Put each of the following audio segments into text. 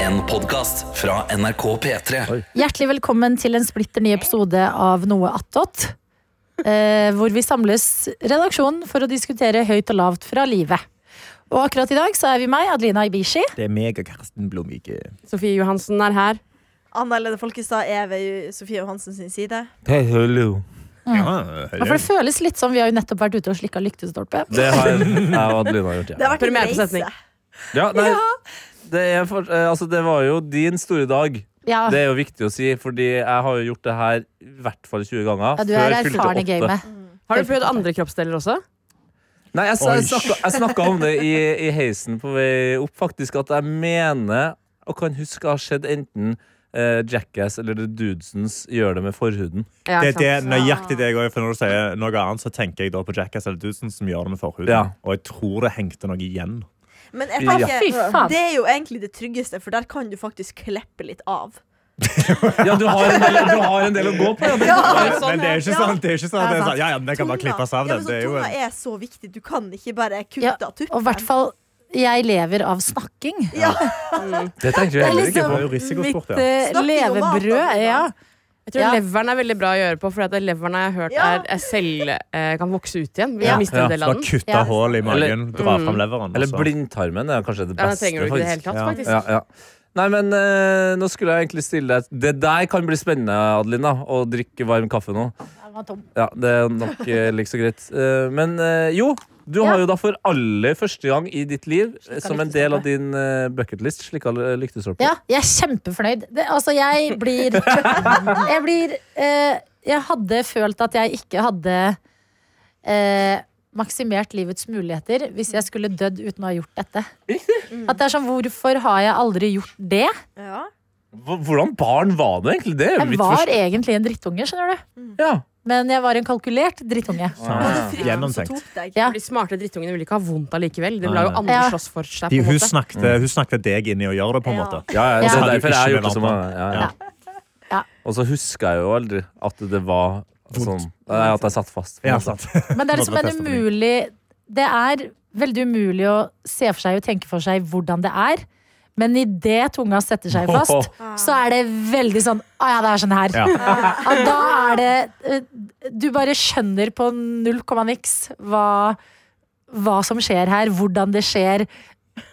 En podcast fra NRK P3 Hjertelig velkommen til en splitter ny episode av Noe attåt. Eh, hvor vi samles redaksjonen for å diskutere høyt og lavt fra livet. Og akkurat i dag så er vi meg, Adelina Ibishi. Det er meg og Karsten Blomvike. Sofie Johansen er her. Anna Lede Folkestad er ved Sofie Johansen sin side. Hei, hallo. Ja, Ja, for det føles litt som vi har jo nettopp vært ute og slikka lyktestolpe. Det har jeg og Adelina gjort, Det ja. har vært en Premiere på reise. setning. ja nei, det, er for, eh, altså, det var jo din store dag. Ja, Det er jo viktig å si, fordi jeg har jo gjort det her i hvert fall 20 ganger. ja du er før jeg fylte erfaren i åtte. gamet. Har du prøvd andre kroppsdeler også? Nei, jeg, jeg, snakka, jeg snakka om det i, i heisen på vei opp, faktisk, at jeg mener og kan huske har skjedd enten eh, Jackass eller The Dudesons gjør det med forhuden. Ja, Det, ikke det er sant? nøyaktig det jeg òg For når du sier noe annet, så tenker jeg da på Jackass eller Dudesen som gjør det med forhuden. Ja. Og jeg tror det hengte noe igjen. Men jeg Ja. Fy faen. tenker, det er jo egentlig det tryggeste, for der kan du faktisk kleppe litt av. Ja, du har en del, du har en del å gå på. Ja. Men, men det er ikke Ja. sånn. Det er ikke sånn, at det er sånn ja, ja, men det kan bare Tunga- klippes av. ja, Den. men Det så er jo tunga en, er så viktig. Du kan ikke bare kutte Ja, av tuppen. Og i hvert fall jeg lever av snakking. ja. Det tenker jeg heller det ikke på. er liksom- jo risikosport, mitt ja. eh, Snakking og mat, levebrød. da, Ja. Jeg tror Ja. leveren er veldig bra å gjøre på, for at leveren har jeg hørt Ja. er, er selv eh, kan vokse ut igjen. Vi Ja. har mistet Ja, en del Bare av den. kutte Ja. hull i magen, Eller- dra Mm. fram leveren. Eller og så- blindtarmen er kanskje Ja, det den beste. trenger du ikke i det faktisk. hele tatt, Ja. faktisk. Ja, ja. Nei, men eh, nå skulle jeg egentlig stille deg Det der kan bli spennende, Adelina. Å drikke varm kaffe nå. Den var tom. Ja, Det er nok uh, like så greit. Eh, men eh, jo, du Ja. har jo da for aller første gang i ditt liv, eh, som en del lyktestolpe. av din uh, bucketlist, slikka lyktestolpe. Ja, jeg er kjempefornøyd. Det, altså, jeg blir Jeg blir eh, Jeg hadde følt at jeg ikke hadde eh, maksimert livets muligheter hvis jeg skulle dødd uten å ha gjort dette. At det er sånn, Hvorfor har jeg aldri gjort det? Ja. H- Hvordan barn var du egentlig? Det er jo Jeg mitt var første egentlig en drittunge, skjønner du. ja. Men jeg var en kalkulert drittunge. Og Ah. det altså, frykten som Gjennomtenkt. tok deg. Ja. De smarte drittungene vil ikke ha vondt allikevel. De vil Nei, la jo nei. andre Ja. slåss for seg. De, På hun, en måte. snakket, hun snakket deg inn i å gjøre det, på en Ja. måte. Ja, ja, altså, det Ja. er derfor jeg har Ikke gjort det som med ja, Ja. ja. Ja. Og så husker jeg jo aldri at det var sånn Nei, At jeg satt fast. på en Ja, måte. sant. Men det er Måtte liksom en teste ting. umulig Det er veldig umulig å se for seg og tenke for seg hvordan det er. Men idet tunga setter seg fast, så er det veldig sånn Å ja, det er sånn her. Ja. Ja, da er det eh, Du bare skjønner på null komma niks hva, hva som skjer her, hvordan det skjer.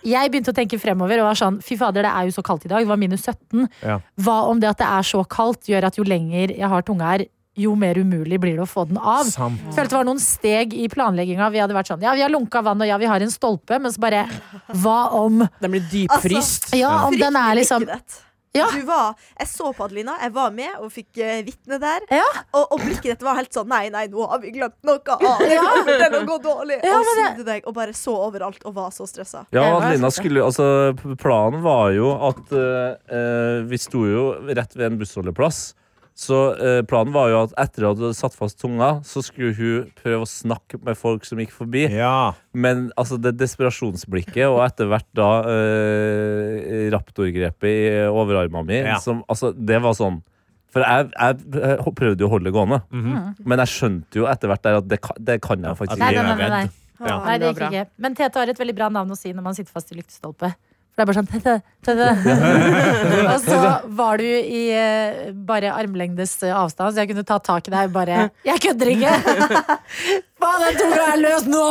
Jeg begynte å tenke fremover og var sånn Fy fader, det er jo så kaldt i dag. Det var minus 17. Ja. Hva om det at det er så kaldt, gjør at jo lenger jeg har tunga her, jo mer umulig blir det å få den av. Sant. Følte det var noen steg i planlegginga. Vi hadde vært sånn, ja vi har lunka vann, og ja vi har en stolpe, men så bare Hva om Den blir dypfryst. Ja, om den er Fryktelig liksom blikkrett. Ja. Du var, jeg så på Adelina, jeg var med og fikk eh, vitne der. Ja. Og, og blikket ditt var helt sånn Nei, nei, nå har vi glemt noe av det. kommer til å gå dårlig. Ja, og men snudde deg og bare så overalt og var så stressa. Ja, Det var Adelina sånn. skulle, altså, p- planen var jo at eh, eh, vi sto jo rett ved en bussholdeplass. Så eh, planen var jo at etter at du hadde satt fast tunga, så skulle hun prøve å snakke med folk som gikk forbi. Ja. Men altså, det desperasjonsblikket og etter hvert da eh, raptorgrepet i overarma mi, Ja. som altså Det var sånn For jeg, jeg jeg prøvde jo å holde det gående, men jeg skjønte jo etter hvert der at det, kan- det kan jeg Mhm. at faktisk Nei, ikke. de nei, nei. nei, er nei. redd. Ja. Nei, det Det gikk var bra. ikke. Men Tete har et veldig bra navn å si når man sitter fast i lyktestolpe. For det er bare sånn tete, tete. Og så var du i eh, bare armlengdes eh, avstand, så jeg kunne ta tak i deg og bare Jeg kødder ikke! Faen, den tunga er løs nå!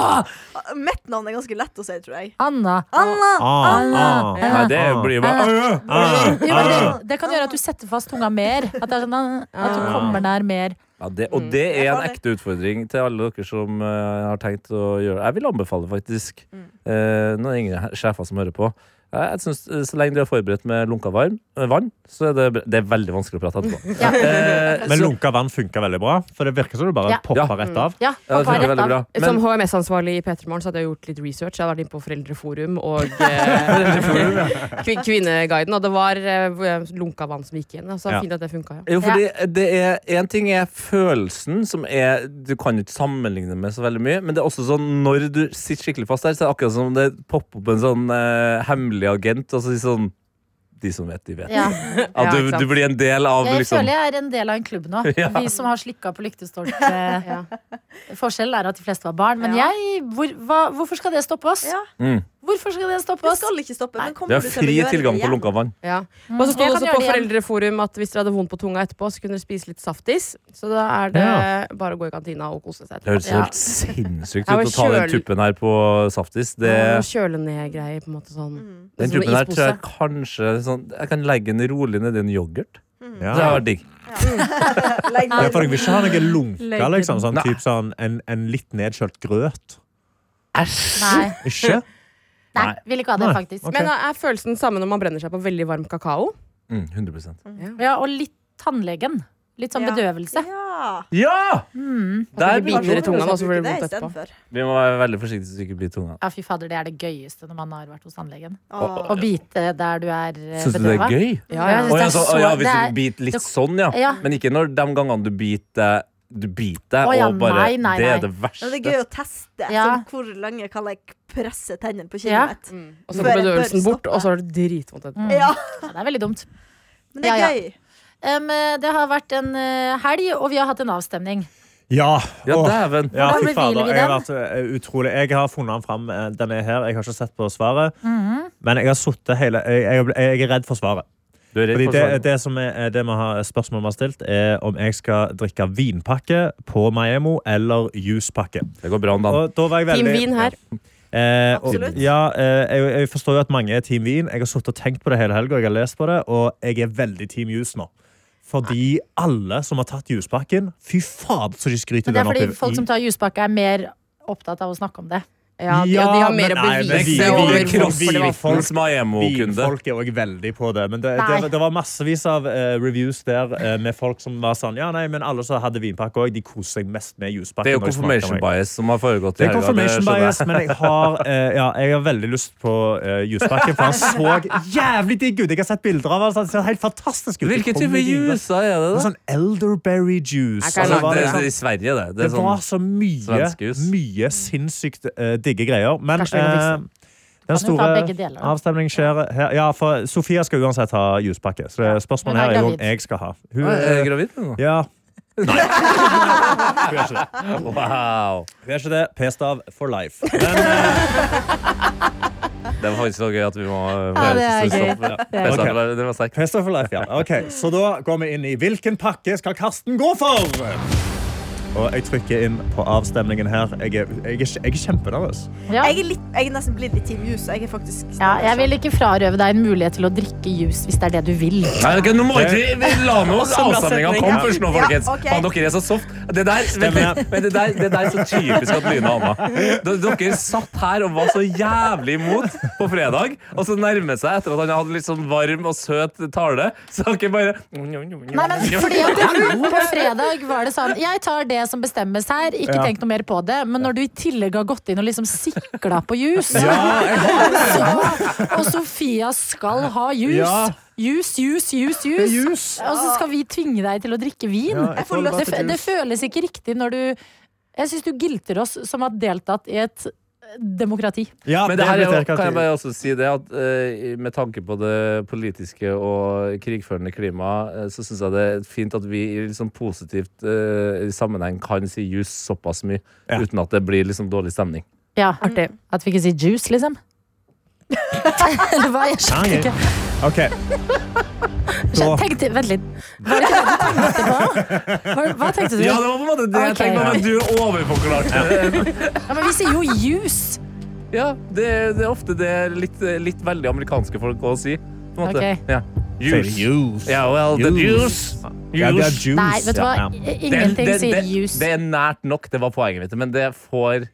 Mitt navn er ganske lett å si, tror jeg. Anna. Anna! Ah, ah. Nei, det blir jo bare Ah. Jo, men det, det kan gjøre at du setter fast tunga mer. At, det er sånn, eh, at du kommer nær mer. Ja, det, og Mm. det Jeg er en tar det. ekte utfordring til alle dere som eh, har tenkt å gjøre Jeg vil anbefale faktisk Mm. eh, noen yngre he- sjefer som hører på. Jeg, jeg synes, eh, Så lenge du er forberedt med lunka varm, eh, vann, så er det, bra- det er veldig vanskelig å prate etterpå. Ja. Eh, Men så- lunka vann funka veldig bra, for det virker som du bare Ja. popper Ja. rett av. Ja, ja, det pappa har funker rett veldig av. bra. Som Men, HMS-ansvarlig i P3 Morgen så hadde jeg gjort litt research. Jeg hadde vært inne på Foreldreforum og eh, Kvin- Kvinneguiden, og det var eh, lunka vann som gikk igjen. Så det Ja. er fint at det funka. Ja. jo, fordi det er Én ting er følelsen, som er Du kan jo ikke sammenligne med så veldig mye, men det er også sånn når du sitter skikkelig fast der, så er det akkurat som det popper opp en sånn eh, hemmelig agent, og så sier sånn De som vet, de vet. Ja. At Ja, du, ikke sant. du blir en del av Jeg liksom føler jeg er en del av en klubb nå. Ja. Vi som har slikka på lyktestolpe. Ja. Forskjellen er at de fleste var barn. Men Ja. jeg, hvor, hva, hvorfor skal det stoppe oss? Ja. Mm. Hvorfor skal det stoppe Det oss? Mm. skal ikke stoppe. Men Vi kommer har du til å fri gjøre tilgang det på igjen? lunka vann. Ja. Og så Jeg sto det kan gjøre også på det igjen. Foreldreforum at hvis dere hadde vondt på tunga etterpå, så kunne dere spise litt saftis. Så da er det Ja. bare å gå i kantina og kose seg. Det høres etterpå. Ja. helt sinnssykt Ja, og ut å ta den kjøl- tuppen her på saftis. Det, Ja, noe Kjøle ned-greier, på en måte sånn. Mm. Sånn den med tuppen her ispose. tror jeg kanskje sånn, Jeg kan legge den rolig nedi en yoghurt. Mm. Ja. Det hadde vært digg. Legg Ja, ned. for jeg vil ikke ha noe lunka, Legger liksom. Sånn, Nei. typ sånn en, en litt nedkjølt grøt. Nei. Ikke? Nei, Nei. vil ikke ha det, Nei. faktisk. Ok. Men da er følelsen samme når man brenner seg på veldig varm kakao? Mm, 100 Ja, og litt tannlegen. Litt sånn Ja. bedøvelse. Ja. Ja! Mm. Der blir Biter i Kanskje tunga, man og så blir det bruker vondt etterpå. istedenfor. Vi må være veldig forsiktige så du ikke blir tunga. Ja, fy fader, det er det gøyeste når man har vært hos tannlegen. Åh. Å bite der du er eh, Syns du det bedøvet. er gøy? Ja, Ja, Å, Det ja, er så, så- å, ja, hvis det du er- biter litt det- sånn, ja. Ja. Men ikke når de gangene du biter Du biter Å, ja, og bare nei, nei, Det nei. er det verste. Men det er gøy å teste Ja. sånn, hvor lenge kan jeg presse tennene på Ja. kinnet mitt. Og så Før- går bedøvelsen før bort, stoppet. og så er det dritvondt etterpå. Mm. Ja. Ja, det er veldig dumt. Men det er Ja, ja. gøy. Em, eh, det har vært en eh, helg, og vi har hatt en avstemning. Ja. Ja, Åh. dæven. Ja, Hvordan fy fader. revealer vi Jeg har vært eh, utrolig Jeg har funnet den fram. eh, Den er her. Jeg har ikke sett på svaret. Men jeg har suttet hele jeg, jeg, jeg er redd for svaret. Du er redd Fordi for sånn. det, svaret. det, som er, eh, det vi har, spørsmålet vi har stilt, er om jeg skal drikke vinpakke på Maiemo eller juicepakke. Det går bra om dagen. Og da var jeg Team veldig Vin her. Eh, og- Absolutt. Ja, eh, jeg, jeg forstår jo at mange er Team Vin. Jeg har suttet og tenkt på det hele helga, og jeg har lest på det, og jeg er veldig Team Juice nå. Fordi alle som har tatt juicepakken Fy fader, så de skryter Men det er den opp fordi i- folk som tar juspakke, er mer opptatt av å snakke om det. Ja, de, de har men mer å nei, men vi- bevise vi- over vi- hvorfor det var folk- Folks Maemo-kunde. Bilfolk er òg veldig på det. Men det, Nei. det, det var massevis av eh, reviews der eh, med folk som var sånn Ja, nei, men alle som hadde vinpakke òg, de koser seg mest med juicepakke. Det er jo når de smaker confirmation meg. bias som har foregått i Det er helga, confirmation skjønner jeg. bias, men jeg har, eh, ja, jeg har veldig lyst på eh, juicepakken. For han så jævlig digg ut! Jeg har sett bilder av han, så han ser helt fantastisk ut. Hvilken Det kom i type vinpakke. juicer er det, Noe da? Altså, Sånn elderberry juice. Jeg kan Og det var det, liksom- det, I Sverige, det. Det det er sånn var så mye, svensk jus. mye sinnssykt eh, digge greier. Men Kanskje vi kan fikse eh, den Kan jo ta store begge deler, da. avstemningen skjer her. Ja, for Sofia skal uansett ha juspakke, så Hun det spørsmålet er her er jo om gravid. jeg skal ha. Hun, Å, Er eh, jeg gravid nå? ja. Nei. Hun er ikke det. Wow! Hun er ikke det. P-stav for life. Det var faktisk så gøy at vi må Ja, det er gøy. stoppe. Det er gøy. Ja, Det var sterkt. P-stav for life, ja. Ok, Så da går vi inn i hvilken pakke skal Karsten gå for? Og jeg trykker inn på avstemningen her. Jeg er, jeg er, jeg er kjempenervøs. Ja. Jeg er, litt, jeg er nesten blitt litt Team Juice. og Jeg er faktisk Ja, jeg vil ikke frarøve deg en mulighet til å drikke juice hvis det er det du vil. Nei, ok, nå må ikke vi, vi la nå oss bra avstemninga setning. kom først nå, Ja, folkens. ok. Faen, dere er så soft. Det der, vent litt. Men det der, det der er så typisk at Lyne og Anna. D- Dere satt her og var så jævlig imot på fredag, og så nærmer seg etter at han hadde litt sånn varm og søt tale, så dere bare Nei, men fordi at På fredag var det sånn Jeg tar det som bestemmes her, ikke Ja. tenk noe mer på det. Men når du i tillegg har gått inn og liksom sikla på jus, så, og Sofia skal ha jus Ja. Jus, jus, jus, jus. Jus. Og så skal vi tvinge deg til å drikke vin. Ja, jeg får det, lyst til f- det juice. føles ikke riktig når du Jeg syns du gilter oss som har deltatt i et demokrati. Ja, Men det her er vet jo, jeg ikke at kan jeg de- bare også si det at eh, med tanke på det politiske og krigførende klimaet, eh, så syns jeg det er fint at vi i liksom positivt eh, i sammenheng kan si jus såpass mye, Ja. uten at det blir liksom dårlig stemning. Ja, At vi ikke sier juice, liksom. Eller hva? Jeg skjønner ikke. Ok. Da, Tenkte, vent litt. Var det ikke det du tenkte på? Var- Hva tenkte du? Ja, det var på en måte det jeg Ok. tenkte, men du overforklarte det. Ja, men vi sier jo juice. Ja, det, det er ofte det litt, litt veldig amerikanske folk å si. På en måte. Ok. Ja. Jus. juice. Ja, well, the juice. Juice. Ja, det er juice. Nei, vet du hva? Ja, ja. I- Ingenting det, det, sier det, juice. det er nært nok, det var poenget mitt, men det får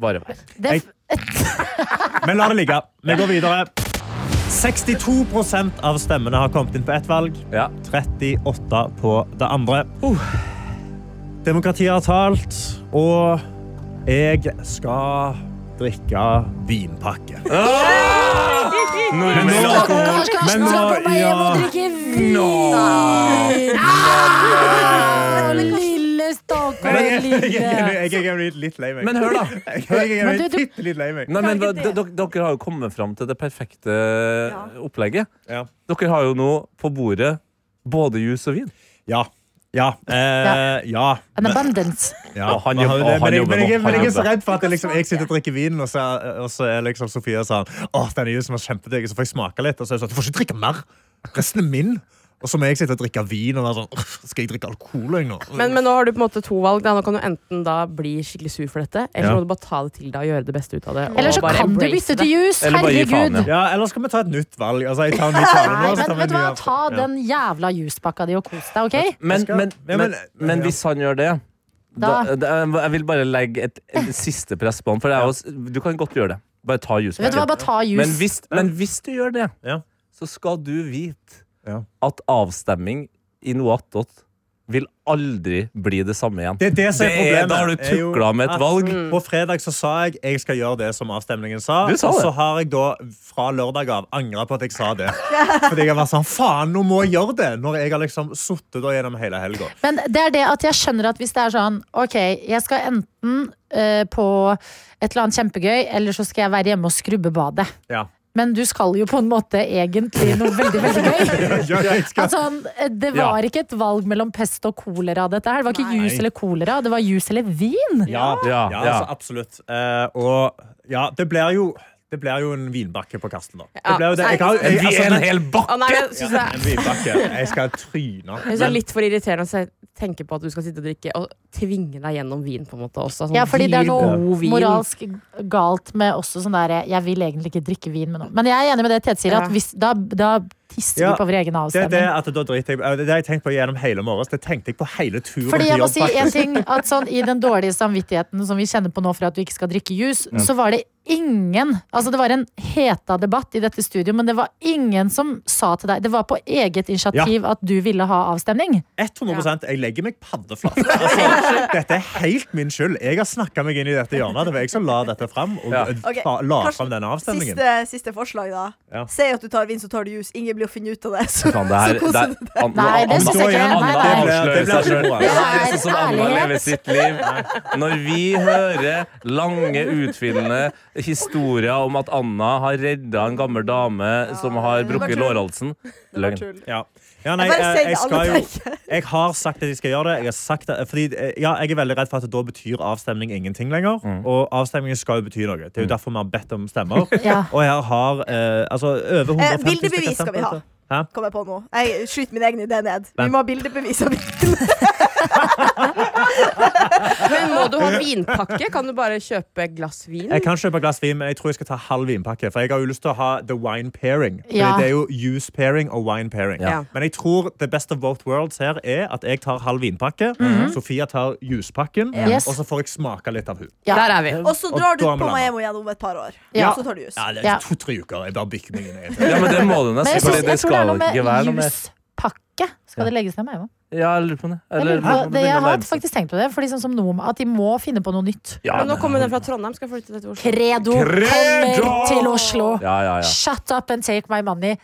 bare være. Det er f- Men la det ligge. Vi går videre. 62 av stemmene har kommet inn på ett valg, Ja. 38 på det andre. Uh. Demokratiet har talt, og jeg skal drikke vinpakke. Men nå- Karsten Men nå- dra på meg hjem og ja. drikke vin! Ah, Lille Men stakkars jeg, jeg, lille. jeg, jeg er litt lei meg. Men hør, da. Jeg, jeg er Men du- du- litt, litt lei meg. Nei, Kan men, da, ikke det- dere, dere har jo kommet fram til det perfekte eh, opplegget. Ja. Dere har jo nå på bordet både juice og vin. Ja. Ja. Eh, ja. An abundance. Ja, Og han men- jobber- men- og han men jeg- jobber men jeg- nå, Men jeg han er så jobber. redd for at det liksom, jeg sitter og drikker vin, og så, er- og så er liksom Sofie sånn Å, denne jusen var kjempedigg, så får jeg smake litt. Og så er jeg sånn, du får ikke drikke mer. Resten er min. Og så må jeg sitte og drikke vin og være sånn «Åh, Skal jeg drikke alkohol, jeg, nå? Men, men nå har du på en måte to valg. Da. Nå kan du enten da bli skikkelig sur for dette, eller Ja. så må du bare ta det til deg og gjøre det beste ut av det. og Eller så bare kan du embrace bytte det. til jus. Eller bare gi faen, Herregud. ja. Ja, Eller skal vi ta et nytt valg? Altså, jeg tar en ny tale Nei, nå, så men tar vi en vet du ny hva, avtale. ta den jævla juspakka di og kos deg, OK? Men, skal- men, Ja, men- men, men ja. hvis han gjør det Da- da, da, Jeg vil bare legge et, et siste press på han. For det er jo, s- du kan godt gjøre det. Bare ta jusen. Vet du hva, bare ta jus. Men hvis, men hvis du gjør det, Ja. så skal du vite Ja. at avstemming i noe attåt vil aldri bli det samme igjen. Det er det som er Det er- problemet. da har du er jo tukla med et at valg. På fredag så sa jeg jeg skal gjøre det som avstemningen sa. Du sa og det. så har jeg da fra lørdag av angra på at jeg sa det. Fordi jeg har vært sånn faen, nå må jeg gjøre det! Når jeg har liksom sittet der gjennom hele helga. Men det er det at jeg skjønner at hvis det er sånn Ok, jeg skal enten eh, på et eller annet kjempegøy, eller så skal jeg være hjemme og skrubbe badet. Ja. Men du skal jo på en måte egentlig noe veldig, veldig gøy. Ja, jeg skal- Altså, eh, det Ja. var ikke et valg mellom pest og kolera, dette her. Det var ikke jus eller kolera, det var jus eller vin. Ja, ja, Ja, ja. Altså, absolutt. Eh, og ja, det blir jo det blir jo en vinbakke på Karsten, da. Det Ja, blir jo det. Jeg har, Men jeg, vi altså, er en det- hel Å, bakke! nei, jeg synes det ja, er en vinbakke. Jeg skal tryne. Jeg synes det er Men- litt for irriterende å se- tenke på at du skal sitte og drikke og tvinge deg gjennom vin. på en måte også. Sånn Ja, fordi det er dyr, noe god vin. moralsk galt med også sånn der Jeg vil egentlig ikke drikke vin med noen. Men jeg er enig med det Tete sier, at Ja. hvis, da, da tisser Ja, vi på vår egen det, er avstemning. det, at da driter jeg, det er det jeg har tenkt på gjennom hele morges. Det tenkte jeg på hele turen. Fordi til jeg må jobb, si faktisk. en ting at sånn, I den dårlige samvittigheten som vi kjenner på nå for at du ikke skal drikke jus, så var det ingen Altså Det var en heta debatt i dette studio, men det var ingen som sa til deg Det var på eget initiativ at du ville ha avstemning. 100 Jeg legger meg paddeflat. Altså, dette er helt min skyld. Jeg har snakka meg inn i dette hjørnet. Det var jeg som la dette fram. Og Ja. Ok, ta, la Karsten, fram denne avstemningen. Siste, siste forslag, da. Ja. Si at du tar vin, så tar du jus. Ingen blir å finne ut av det. Så, Faen, det her- så det koser er- du deg. an- Nei, det an- synes jeg ikke. Anna Nei, nei. Det avslører ble- seg det ble selv. humor. Det er sånn som Anna Ærlighet. lever sitt liv. Når vi hører lange, utfyllende historier om at Anna har redda en gammel dame som har brukket lårhalsen Løgn. Tull. Ja. Ja, nei, eh, Jeg bare jeg, sier det jeg, skal alle jo, tenker. jeg har sagt at jeg skal gjøre det. Jeg, har sagt det fordi, eh, ja, jeg er veldig redd for at da betyr avstemning ingenting lenger. Og avstemningen skal jo bety noe. Det er jo derfor vi har bedt om stemmer. Ja. Og jeg har eh, altså, over 150 Eh, bildebevis stykker skal vi stemte. ha. Hæ? Kom jeg på nå. Jeg skyter min egen idé ned. Vi Vent. må ha bildebevis av bilen. Men må du ha vinpakke? Kan du bare kjøpe et glass vin? Jeg kan kjøpe et glass vin, men jeg tror jeg skal ta halv vinpakke. For jeg har jo lyst til å ha the wine pairing. Fordi Ja. Det er jo juice pairing og wine pairing. Ja. Men jeg tror the best of both worlds her er at jeg tar halv vinpakke, Sofia tar juspakken, Mhm. Yes. og så får jeg smake litt av hun. Ja. Der er vi. Og så Og drar du da må på den Miami igjen om et par år. Ja. Så tar du jus. Ja, det er Ja. to-tre uker. Jeg bare bykker meg inn. i- Ja, men det må du Men nesten. jeg, synes, Fordi Altså, jeg det tror det er skal noe ikke være med noe mer. juspakke. Skal det legges ned med? Eva? Ja, jeg lurer på det. Jeg lurer Eller- på- det- Jeg begynner å har nærme seg. faktisk tenkt på det. Fordi sånn som Noma, At de må finne på noe nytt. Ja, Men nå kommer den fra Trondheim. Skal jeg flytte til Oslo? Credo kommer Credo! til Oslo. ja, ja, ja. Shut up and take my money.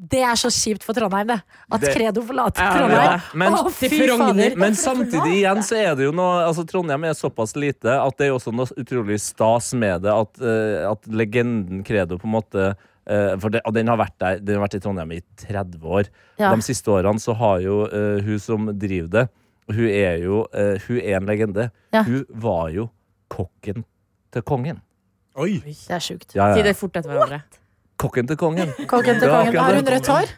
Det er så kjipt for Trondheim, det. At Det- Credo forlater Ja, Trondheim. ja. Men- Å, fy Til Frogner. fader. Men samtidig igjen så er det jo noe altså Trondheim er såpass lite at det er jo også noe utrolig stas med det at, eh, at legenden Credo på en måte eh, for det, og den har, vært der, den har vært i Trondheim i 30 år. Ja. De siste årene så har jo eh, hun som driver det, hun er jo eh, hun er en legende. Ja. Hun var jo kokken til kongen. Oi! Det er sjukt. Ja, Si ja. det fort etter hverandre. Kokken til kongen. Kongen til Ja, kongen. akkurat Har det. hun rødt hår?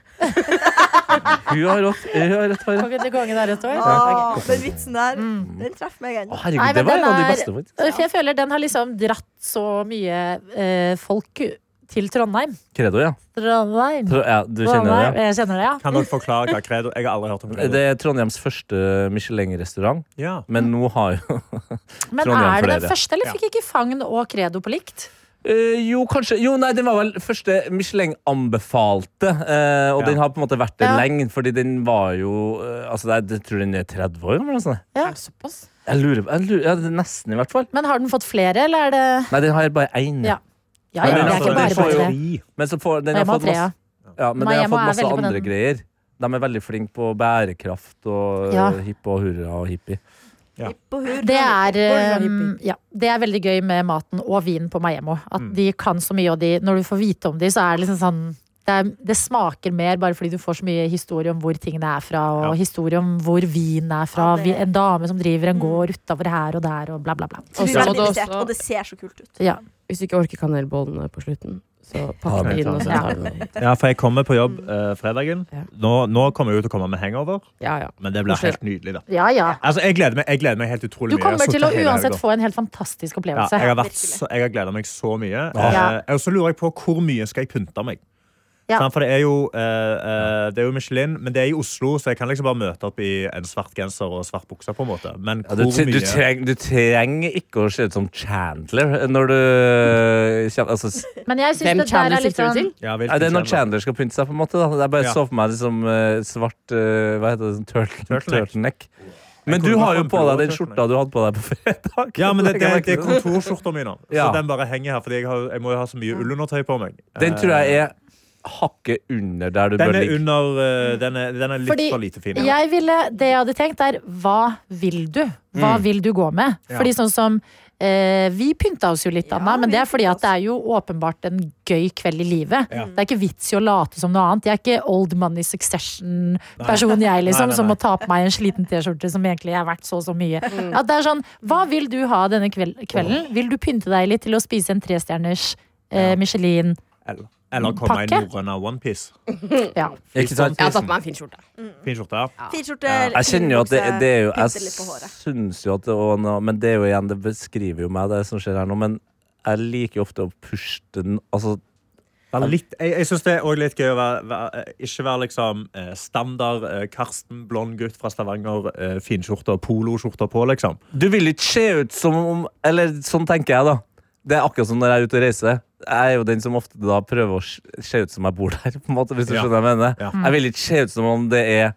Hun har rett. Hun har rett for det. Kongen til kongen har rødt hår. Ah, den vitsen der, Mm. den treffer meg Å, ennå. herregud, Nei, men det var den en av de er- beste. faktisk. For jeg føler den har liksom dratt så mye eh, folk til Trondheim. Credo, ja. Trondheim. Tro- ja du kjenner det? Ja. Trondheim. Jeg kjenner det, ja. Kan dere forklare hva credo Jeg har aldri hørt om credo. Det er Trondheims første Michelin-restaurant, Ja. men nå har jo Men Trondheim er det den flere. første, eller fikk ikke Fagn og Credo på likt? Eh, Jo, kanskje Jo, nei, den var vel første Michelin-anbefalte, eh, og Ja. den har på en måte vært det Ja. lenge, fordi den var jo eh, Altså, jeg, jeg tror den er 30 år, eller noe sånt. Ja. Er det såpass? Jeg lurer, jeg lurer ja, det er Nesten, i hvert fall. Men har den fått flere, eller er det Nei, den har bare én. Ja. Ja, ja, Men det er altså, ikke den bare får bare jo- tre. Men, så får, den Jeg må har ha fått tre, ja. masse, ja, men den Miami har fått er masse veldig på andre den. greier. De er veldig flinke på bærekraft og Ja. eh, hipp og hurra og hippie. Det er, Orla um, ja, det er veldig Mm. gøy med maten og vinen på Maiemo. At de kan så mye, og de, når du får vite om de, så er det liksom sånn det, er, det smaker mer bare fordi du får så mye historie om hvor tingene er fra, og Ja. historie om hvor vinen er fra. Ja, det- Vi- En dame som driver en gård utafor her og der, og bla, bla, bla. Så vi er Også- veldig og det investert, også- og det ser så kult ut. Ja. Hvis du ikke orker kanelbollene på slutten, så Ja, pakk men det inn. ta Og så det. tar du det. Ja, for jeg kommer på jobb eh, fredagen. Ja. Nå, nå kommer jeg jo til å komme med hangover, Ja, ja. men det blir Koselig. helt nydelig. da ja, ja. Altså, jeg gleder meg, jeg gleder meg helt Du utrolig mye. Jeg har kommer til å suttet hele helga. uansett få en helt fantastisk ja, opplevelse. jeg har, vært, Virkelig. så- jeg har gleda meg så mye. Ja. Eh, og så lurer jeg på hvor mye skal jeg pynte meg. Ja. Sant, For det er, jo, eh, eh, det er jo Michelin, men det er i Oslo, så jeg kan liksom bare møte opp i en svart genser og svart bukse. på en måte Men Ja, hvor du, tre- du, mye treng, du trenger ikke å se ut som Chandler eh, når du kjenner- altså, s- Men jeg Hvem syns det der Chandler er litt sikter du sånn til? ja, hvilken Nei, det er når kjele, da? Chandler skal pynte seg, på en måte. Da. Det er bare Ja. så for meg liksom eh, svart eh, Hva heter det? sånn Turtle, Turtleneck. turtleneck. Men du kunne har jo hatt på blå deg den turtleneck. skjorta du hadde på deg på fredag. Ja, men det, det, det er den, kontorskjorta mi nå. Ja. Så den bare henger her, fordi jeg, har, jeg må jo ha så mye ullundertøy på meg. tror jeg er hakket under der du Den bør er ligge. under eh, Den er, den er litt Fordi for lite fin. jeg ville, Det jeg hadde tenkt, er hva vil du? Hva vil du gå med? Mm. Ja. Fordi sånn som eh, Vi pynta oss jo litt, Anna, men vi det er fordi pynta at det er jo åpenbart en gøy kveld i livet. Det er ikke vits i å late som noe annet. Jeg er ikke old money succession-person, jeg, Nei, liksom, nei, som nei. må ta på meg en sliten T-skjorte som egentlig er verdt så og så mye. Mm. At det er sånn, Hva vil du ha denne kveld, kvelden? Vil du pynte deg litt til å spise en trestjerners eh, Michelin? Eller, eller komme i Pakke? norrøna onepiece. Ja. Ikke sant? Jeg har tatt på meg en fin skjorte. Fin skjorte. Fire skjorter, Jeg kjenner jo at det, det er jo pynte Jeg eh, litt på håret. syns jo at det òg nå Men det er jo igjen, det beskriver jo meg, det som skjer her nå. Men jeg liker jo ofte å pushe den altså, Vær Litt, jeg jeg syns det er også litt gøy å være, være, eh, ikke være liksom eh, standard eh, Karsten, blond gutt fra Stavanger, eh, finskjorte og poloskjorte på, liksom. Du vil ikke se ut som om Eller sånn tenker jeg, da. Det er akkurat som når jeg er ute og reiser. Jeg er jo den som ofte da prøver å se se ut som jeg bor der. På en måte, hvis du Ja. skjønner hva jeg mener Mm. Ja. Jeg vil ikke se ut som om det er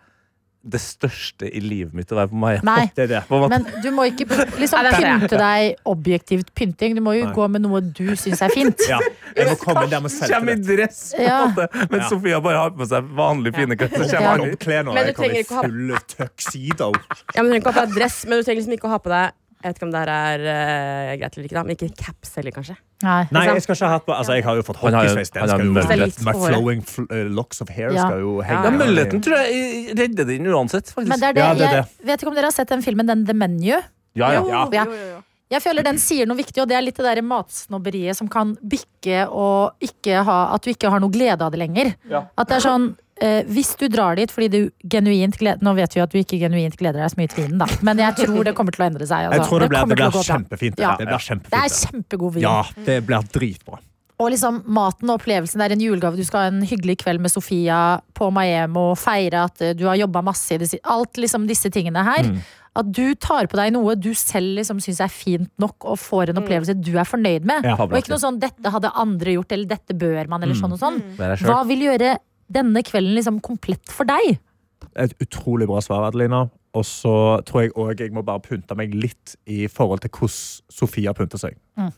det største i livet mitt å være på Maja. Nei. Det er det. På en måte. Men du må ikke liksom, Nei, det er det. pynte deg objektivt pynting. Du må jo Nei. gå med noe du syns er fint. Ja. Jeg må komme inn der med Kjem i selvtillit. dress, på en Ja. måte. men Ja. Sofia bare har på seg vanlige, fine klær. Så kommer Ja. han i- Jobbklær nå. Men du Jeg kommer trenger i ikke å ha- full tuxedo. Ja, men du trenger ikke ha på deg dress, men du trenger liksom ikke å ha på deg Jeg vet ikke om det her er eh, greit eller ikke, da, men ikke caps heller, kanskje. Nei. Nei, jeg skal ikke ha hatt på Altså, jeg har jo fått Han har jo- hockeysveis. Den han har skal jo møllet. My Litt på håret. flowing fl eh, locks of hair Ja. skal jo henge. Ja, Ja, Muligheten tror jeg redder den uansett. faktisk. Men det er det, Ja, det er Jeg vet ikke om dere har sett den filmen den The Menu. ja, ja. Jo, Ja. jo, jo, jo. Jeg føler den sier noe viktig, og det er litt det der matsnobberiet som kan bikke og ikke ha, at du ikke har noe glede av det lenger. At det er sånn eh, hvis du drar dit fordi du genuint gleder Nå vet vi jo at du ikke genuint gleder deg så mye til vinen, da, men jeg tror det kommer til å endre seg. altså. Jeg tror det blir, kommer til å det gå blir bra. kjempefint. Ja. Det blir Det er kjempefint. kjempegod vin. Ja, det blir dritbra. Og liksom maten og opplevelsen det er en julegave. Du skal ha en hyggelig kveld med Sofia på Maemmo, feire at eh, du har jobba masse i det siste. Alt liksom disse tingene Mm. her. At du tar på deg noe du selv liksom syns er fint nok, og får en opplevelse du er fornøyd med. Ja. Mm. og ikke noe sånn 'dette hadde andre gjort', eller 'dette bør man', eller sånn og sånn. Vær deg selv. Hva vil gjøre denne kvelden liksom komplett for deg? Et utrolig bra svar, Adelina. Og så tror jeg òg jeg må bare pynte meg litt i forhold til hvordan Sofia pynter seg.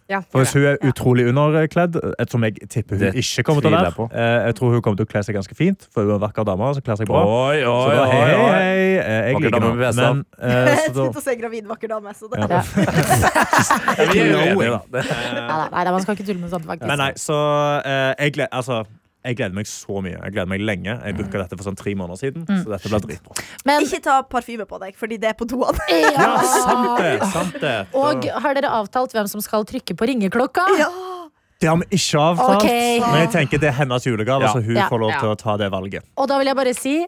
Ja, For Hvis hun er utrolig underkledd, et som jeg tipper hun Det ikke kommer til å tviler jeg være, på. eh, jeg tror hun kommer til å kle seg ganske fint, for hun er en vakker dame som kler seg bra. Oi, Så oi, da, hei, oi, hei, oi. hei. eh, Jeg Vakker liker dame nå. med VSA. Men, eh, Jeg så da, sitter og ser gravid vakker dame, så det Ja. Ja. Ja, vi er uenige, da. Det- Nei, nei, nei, man skal ikke tulle med sånt, faktisk. men nei, så eh, jeg, gleder, altså, jeg gleder meg så mye. Jeg gleder meg lenge. Jeg Mm. booka dette for sånn tre måneder siden, så dette blir dritbra. Men, Ikke ta parfyme på deg, fordi det er på doene. Ja, sant det! Sant det. eh, Og har dere avtalt hvem som skal trykke på ringeklokka? Ja. Det har vi ikke avtalt, Ok. men jeg tenker det er hennes julegave, Ja. så hun Ja. får lov Ja. til å ta det valget. Og da vil jeg bare si,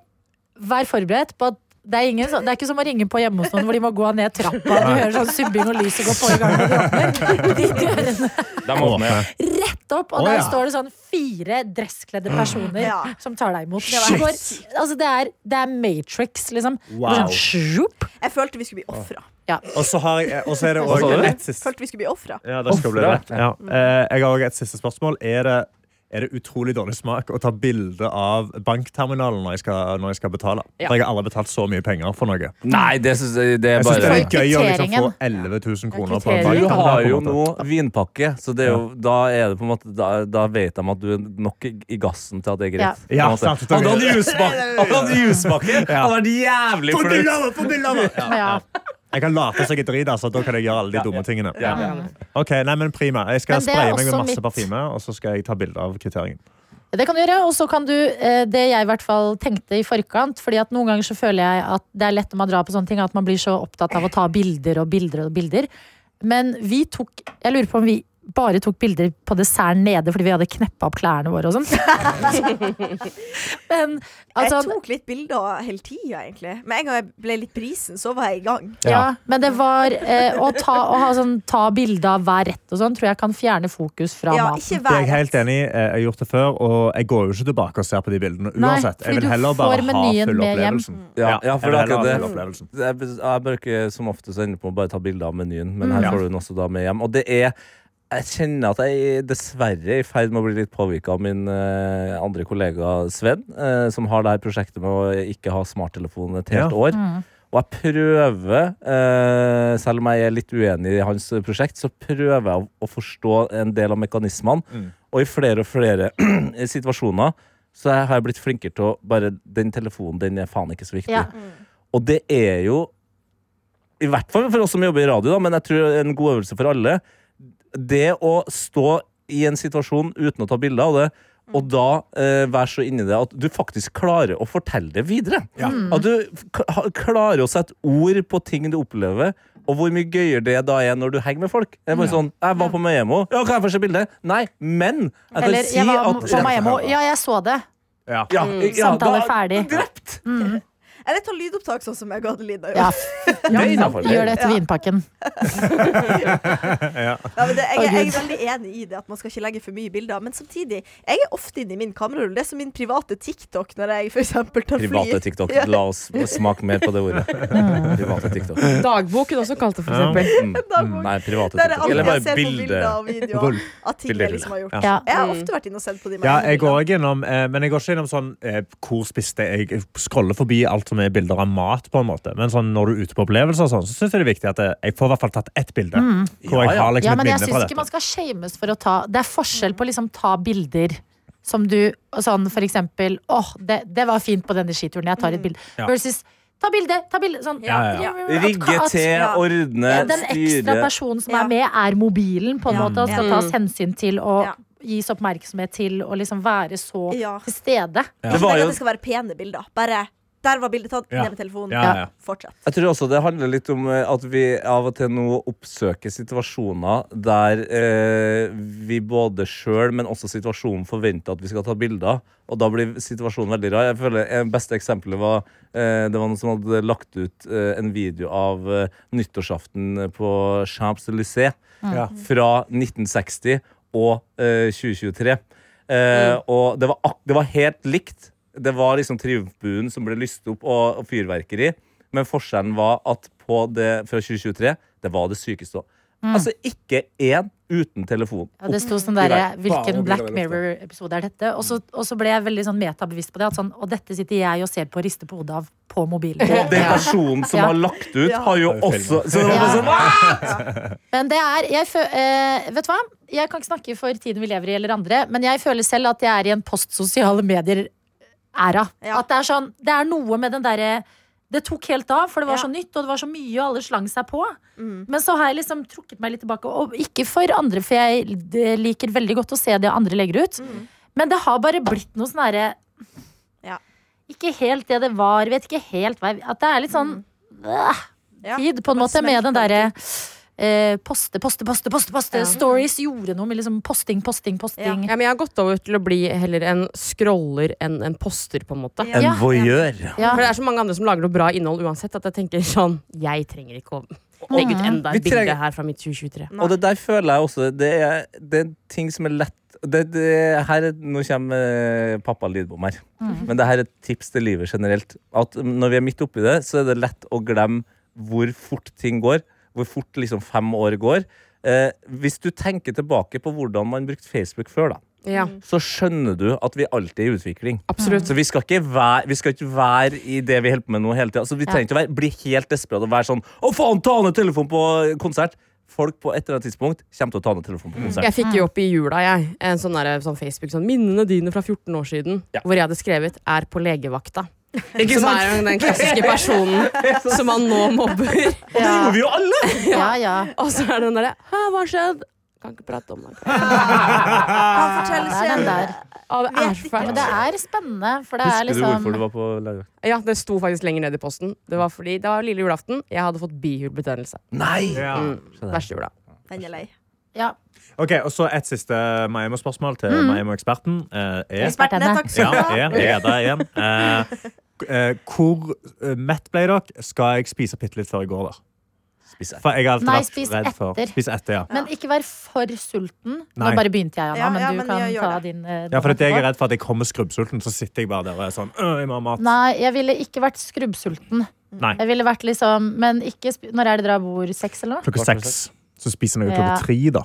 vær forberedt på at det er, ingen, som- det er ikke som å ringe på hjemme hos noen hvor de må gå ned trappa. Du hører sånn subbing og lyset går på i gangen. når de åpner. De dørene er rett opp, og Å, der ja. Mm. står det sånn fire dresskledde personer Ja. som tar deg imot. Det, Shit. går, altså det, er, det er Matrix, liksom. Wow. Sånn, sjup. Jeg følte vi skulle bli ofra. Og så har jeg- og så er det Hva sa også du? et siste Følte vi skulle bli offret. ja, det skal bli det. Ja. Eh, Jeg har også et siste spørsmål. Er det, er det utrolig dårlig smak å ta bilde av bankterminalen når jeg skal, når jeg skal betale? Ja. For jeg har aldri betalt så mye penger for noe. Nei, det syns jeg det er Jeg synes det bare er gøy å liksom Kvitteringen. få 11 000 kroner på en kvittering. Du bankterminal. har på jo en måte. nå vinpakke, så det er jo, da er det på en måte Da, da vet de at du er nok i, i gassen til at det er greit. på en Ja, måte. sant, det er Hadde han greit. juspakke, hadde han juspakke, hadde vært jævlig Få bilde flaut. av meg, få bilde av meg! Ja. Ja. Jeg kan late som jeg er drit, altså. Da kan jeg gjøre alle de dumme tingene. Ja. Ok, nei, men Prima. Jeg skal Men det er spraye meg med også masse mitt- parfyme, og så skal jeg ta bilde av kvitteringen. Det kan du gjøre, og så kan du eh, Det jeg i hvert fall tenkte i forkant Fordi at noen ganger så føler jeg at det er lett når man drar på sånne ting At man blir så opptatt av å ta bilder og bilder og bilder Men vi tok Jeg lurer på om vi bare tok bilder på desserten nede Fordi vi hadde kneppet opp klærne våre og sånn Men altså jeg tok litt bilder hele tida, egentlig. Med en gang jeg ble litt brisen, så var jeg i gang. ja. men det var eh, å, ta, å ha sånn, ta bilder av hver rett og sånn Tror jeg kan fjerne fokus fra Ja, maten ikke Det er jeg vær helt enig i. Eh, Jeg har gjort det før, og jeg går jo ikke tilbake og ser på de bildene Nei, uansett. fordi Jeg vil du heller får bare ha menyen full med hjem. opplevelsen. Mm. Ja, ja, jeg for vil det er heller akkurat ha det. full opplevelsen. Jeg, jeg bør ikke som oftest ende på å bare ta bilde av menyen, men Ja. her får du den også da med hjem. Og det er jeg kjenner at jeg dessverre er i ferd med å bli litt påvirka av min eh, andre kollega Sven, eh, som har det her prosjektet med å ikke ha smarttelefon et Ja. helt år. Og jeg prøver, eh, selv om jeg er litt uenig i hans eh, prosjekt, så prøver jeg å, å forstå en del av mekanismene. Mm. Og i flere og flere situasjoner så har jeg blitt flinkere til å bare Den telefonen, den er faen ikke så viktig. Ja. Og det er jo I hvert fall for oss som jobber i radio, da, men jeg tror en god øvelse for alle. Det å stå i en situasjon uten å ta bilder av det, og da eh, være så inni det at du faktisk klarer å fortelle det videre. Mm. At du k- ha- klarer å sette ord på ting du opplever. Og hvor mye gøyere det da er når du henger med folk. Det er bare sånn, Jeg var på Maiemo. Ja, kan jeg få se bildet? Nei, men jeg kan Eller si jeg var at på Miami Ja, jeg så det Ja. ja, ja, Samtale da- ferdig. Drept! Eller ta lydopptak, sånn som jeg og Adelina gjorde. Ja, Det er innenfor. gjør det etter vinpakken Ja, men det, jeg, Å, Gud. jeg er veldig enig i det at man skal ikke legge for mye bilder. Men samtidig, jeg er ofte inne i min kamerarull. Det er som min private TikTok når jeg f.eks. tar fly. Private TikTok. Ja. La oss smake mer på det ordet. Mm. Private TikTok. Dagbok hun også kalte det, for Ja. eksempel. Mm. Dagbok. Nei, private Der jeg TikTok. Eller alltid bare ser på bilder bilde. og videoer av ting Bilder, jeg liksom har gjort. Ja Jeg har ofte vært inne og sett på de Ja, mange jeg går bildene. også innom, eh, men jeg går ikke innom sånn eh, hvor spiste jeg Jeg scroller forbi alt som er bilder av mat, på en måte. Men sånn, når du er ute på opplevelser og sånn, så syns jeg det er viktig at jeg, jeg får i hvert fall tatt ett bilde. Hvor Ja, jeg ja. har liksom Mm. Ja, men et jeg minne fra syns ikke dette. man skal shames for å ta Det er forskjell på å liksom ta bilder som du og Sånn for eksempel Åh, det, det var fint på denne skituren, jeg Mm. tar et bilde. Ja. Versus ta bilde, ta bilde. Sånn. Ja, ja, ja. At- Rigge at- til, Ja. ordne, ja, Den ekstra styre. personen som Ja. er med, er mobilen, på en Ja. måte, og skal Ja. tas hensyn til og Ja. gis oppmerksomhet til, og liksom være så Ja. til stede. Det Ikke var tenk jo at det skal være pene bilder. Bare der var bildet tatt, Ja. ned med telefonen. Ja, ja, ja. Fortsett. Jeg tror også det handler litt om eh, at vi av og til nå oppsøker situasjoner der eh, vi både sjøl, men også situasjonen forventer at vi skal ta bilder. Og da blir situasjonen veldig rar. Jeg føler eh, beste eksempelet var eh, Det var noen som hadde lagt ut eh, en video av eh, nyttårsaften på Champs-Élysées Ja. fra 1960 og eh, 2023. Eh, Mm. Og det var, ak det var helt likt. Det var liksom triumfbuen som ble lyst opp, og, og fyrverkeri. Men forskjellen var at på det fra 2023, det var det sykeste. Mm. Altså ikke én uten telefon. Ja, det sto sånn Opp i derre verden. Hvilken Faen, Black mobilen er lov Mirror-episode er dette? Og så, og så ble jeg veldig sånn metabevisst på det. At sånn, og dette sitter jeg og ser på og rister på hodet av på mobilen. til. Og den personen som Eh, Ja. har lagt ut, Ja. har jo Det er jo også Så det var Ja. bare sånn, "Ah!" Men det er jeg fø eh, Vet du hva? Jeg kan ikke snakke for tiden vi lever i eller andre, men jeg føler selv at jeg er i en postsosiale medier-æra. Ja. At det er sånn Det er noe med den derre det tok helt av, for det var Ja. Mm. så nytt, og det var så mye, og alle slang seg på. Men så har jeg liksom trukket meg litt tilbake, og ikke for andre, for jeg det liker veldig godt å se det andre legger ut. Men det har bare blitt noe sånn herre Mm. Ja. Ikke helt det det var, vet ikke helt hva jeg At det er litt sånn Mm. øh, Ja. tid, på en Bare måte, med den smelter derre eh, poste, poste, poste, poste, poste. Ja. Stories gjorde noe med liksom posting, posting, posting. Ja, men jeg har gått over til å bli heller en scroller enn en poster, på en måte. Ja. En voyeur. Ja. For det er så mange andre som lager noe bra innhold uansett, at jeg tenker sånn Jeg trenger ikke å legge ut enda Vi et bilde trenger- her fra mitt 2023. Nei. Og det der føler jeg også Det er, det er ting som er lett det, det, her, er- Nå kommer eh, pappa lydbom her. Men det her er et tips til livet generelt. At når vi er midt oppi det, så er det lett å glemme hvor fort ting går. Hvor fort liksom fem år går. Eh, hvis du tenker tilbake på hvordan man brukte Facebook før, da, Ja, så skjønner du at vi alltid er i utvikling. absolutt. Så vi skal ikke være, vi skal ikke være i det vi holder på med nå hele tida. Så vi trenger ikke å være, bli helt desperate og være sånn Å, faen, ta ned telefonen på konsert! Folk på et eller annet tidspunkt kommer til å ta ned telefonen på konsert. Jeg fikk jo opp i jula jeg, en sånn, der, sånn Facebook sånn 'Minnene dine fra 14 år siden', Ja. hvor jeg hadde skrevet 'Er på legevakta'. Som er jo den klassiske personen som man nå mobber. Og det gjorde vi jo alle! Ja, ja. Og så er det den derre 'Hæ, hva har skjedd?' kan ikke prate om det. Han forteller Det er den ikke der. Ja, det er så Men fælt. det er spennende, for det er Husker du liksom hvorfor du var på legevakt? Ja, det sto faktisk lenger ned i posten. Det var fordi det var lille julaften. Jeg hadde fått bihulebetennelse. Nei! Ja. Mm. Skjønner. Verste jula. Den er lei. Ja. Ok, og så Et siste Maimo-spørsmål til Mm. Maimo-eksperten. Eh, er, Ekspertene, takk ja, skal du ha. er, er der igjen. Eh, k- eh, hvor eh, mett ble dere? Skal jeg spise bitte litt før jeg går der? Spis etter. For jeg har alltid Nei, vært spis redd for etter. Spis etter, ja. Men ikke vær for sulten. Nå Nei. bare begynte jeg, Anna, Ja, men ja, du men kan jeg gjør ta det. din. eh, Ja, for at jeg dommer. er redd for at jeg kommer skrubbsulten, så sitter jeg bare der og er sånn «Øh, jeg må ha mat. Nei, jeg ville ikke vært skrubbsulten. Nei. Jeg ville vært liksom Men ikke sp Når er det dere bor? Seks, eller noe? Klokka seks. Så spiser jeg jo Ja. klokka tre, da.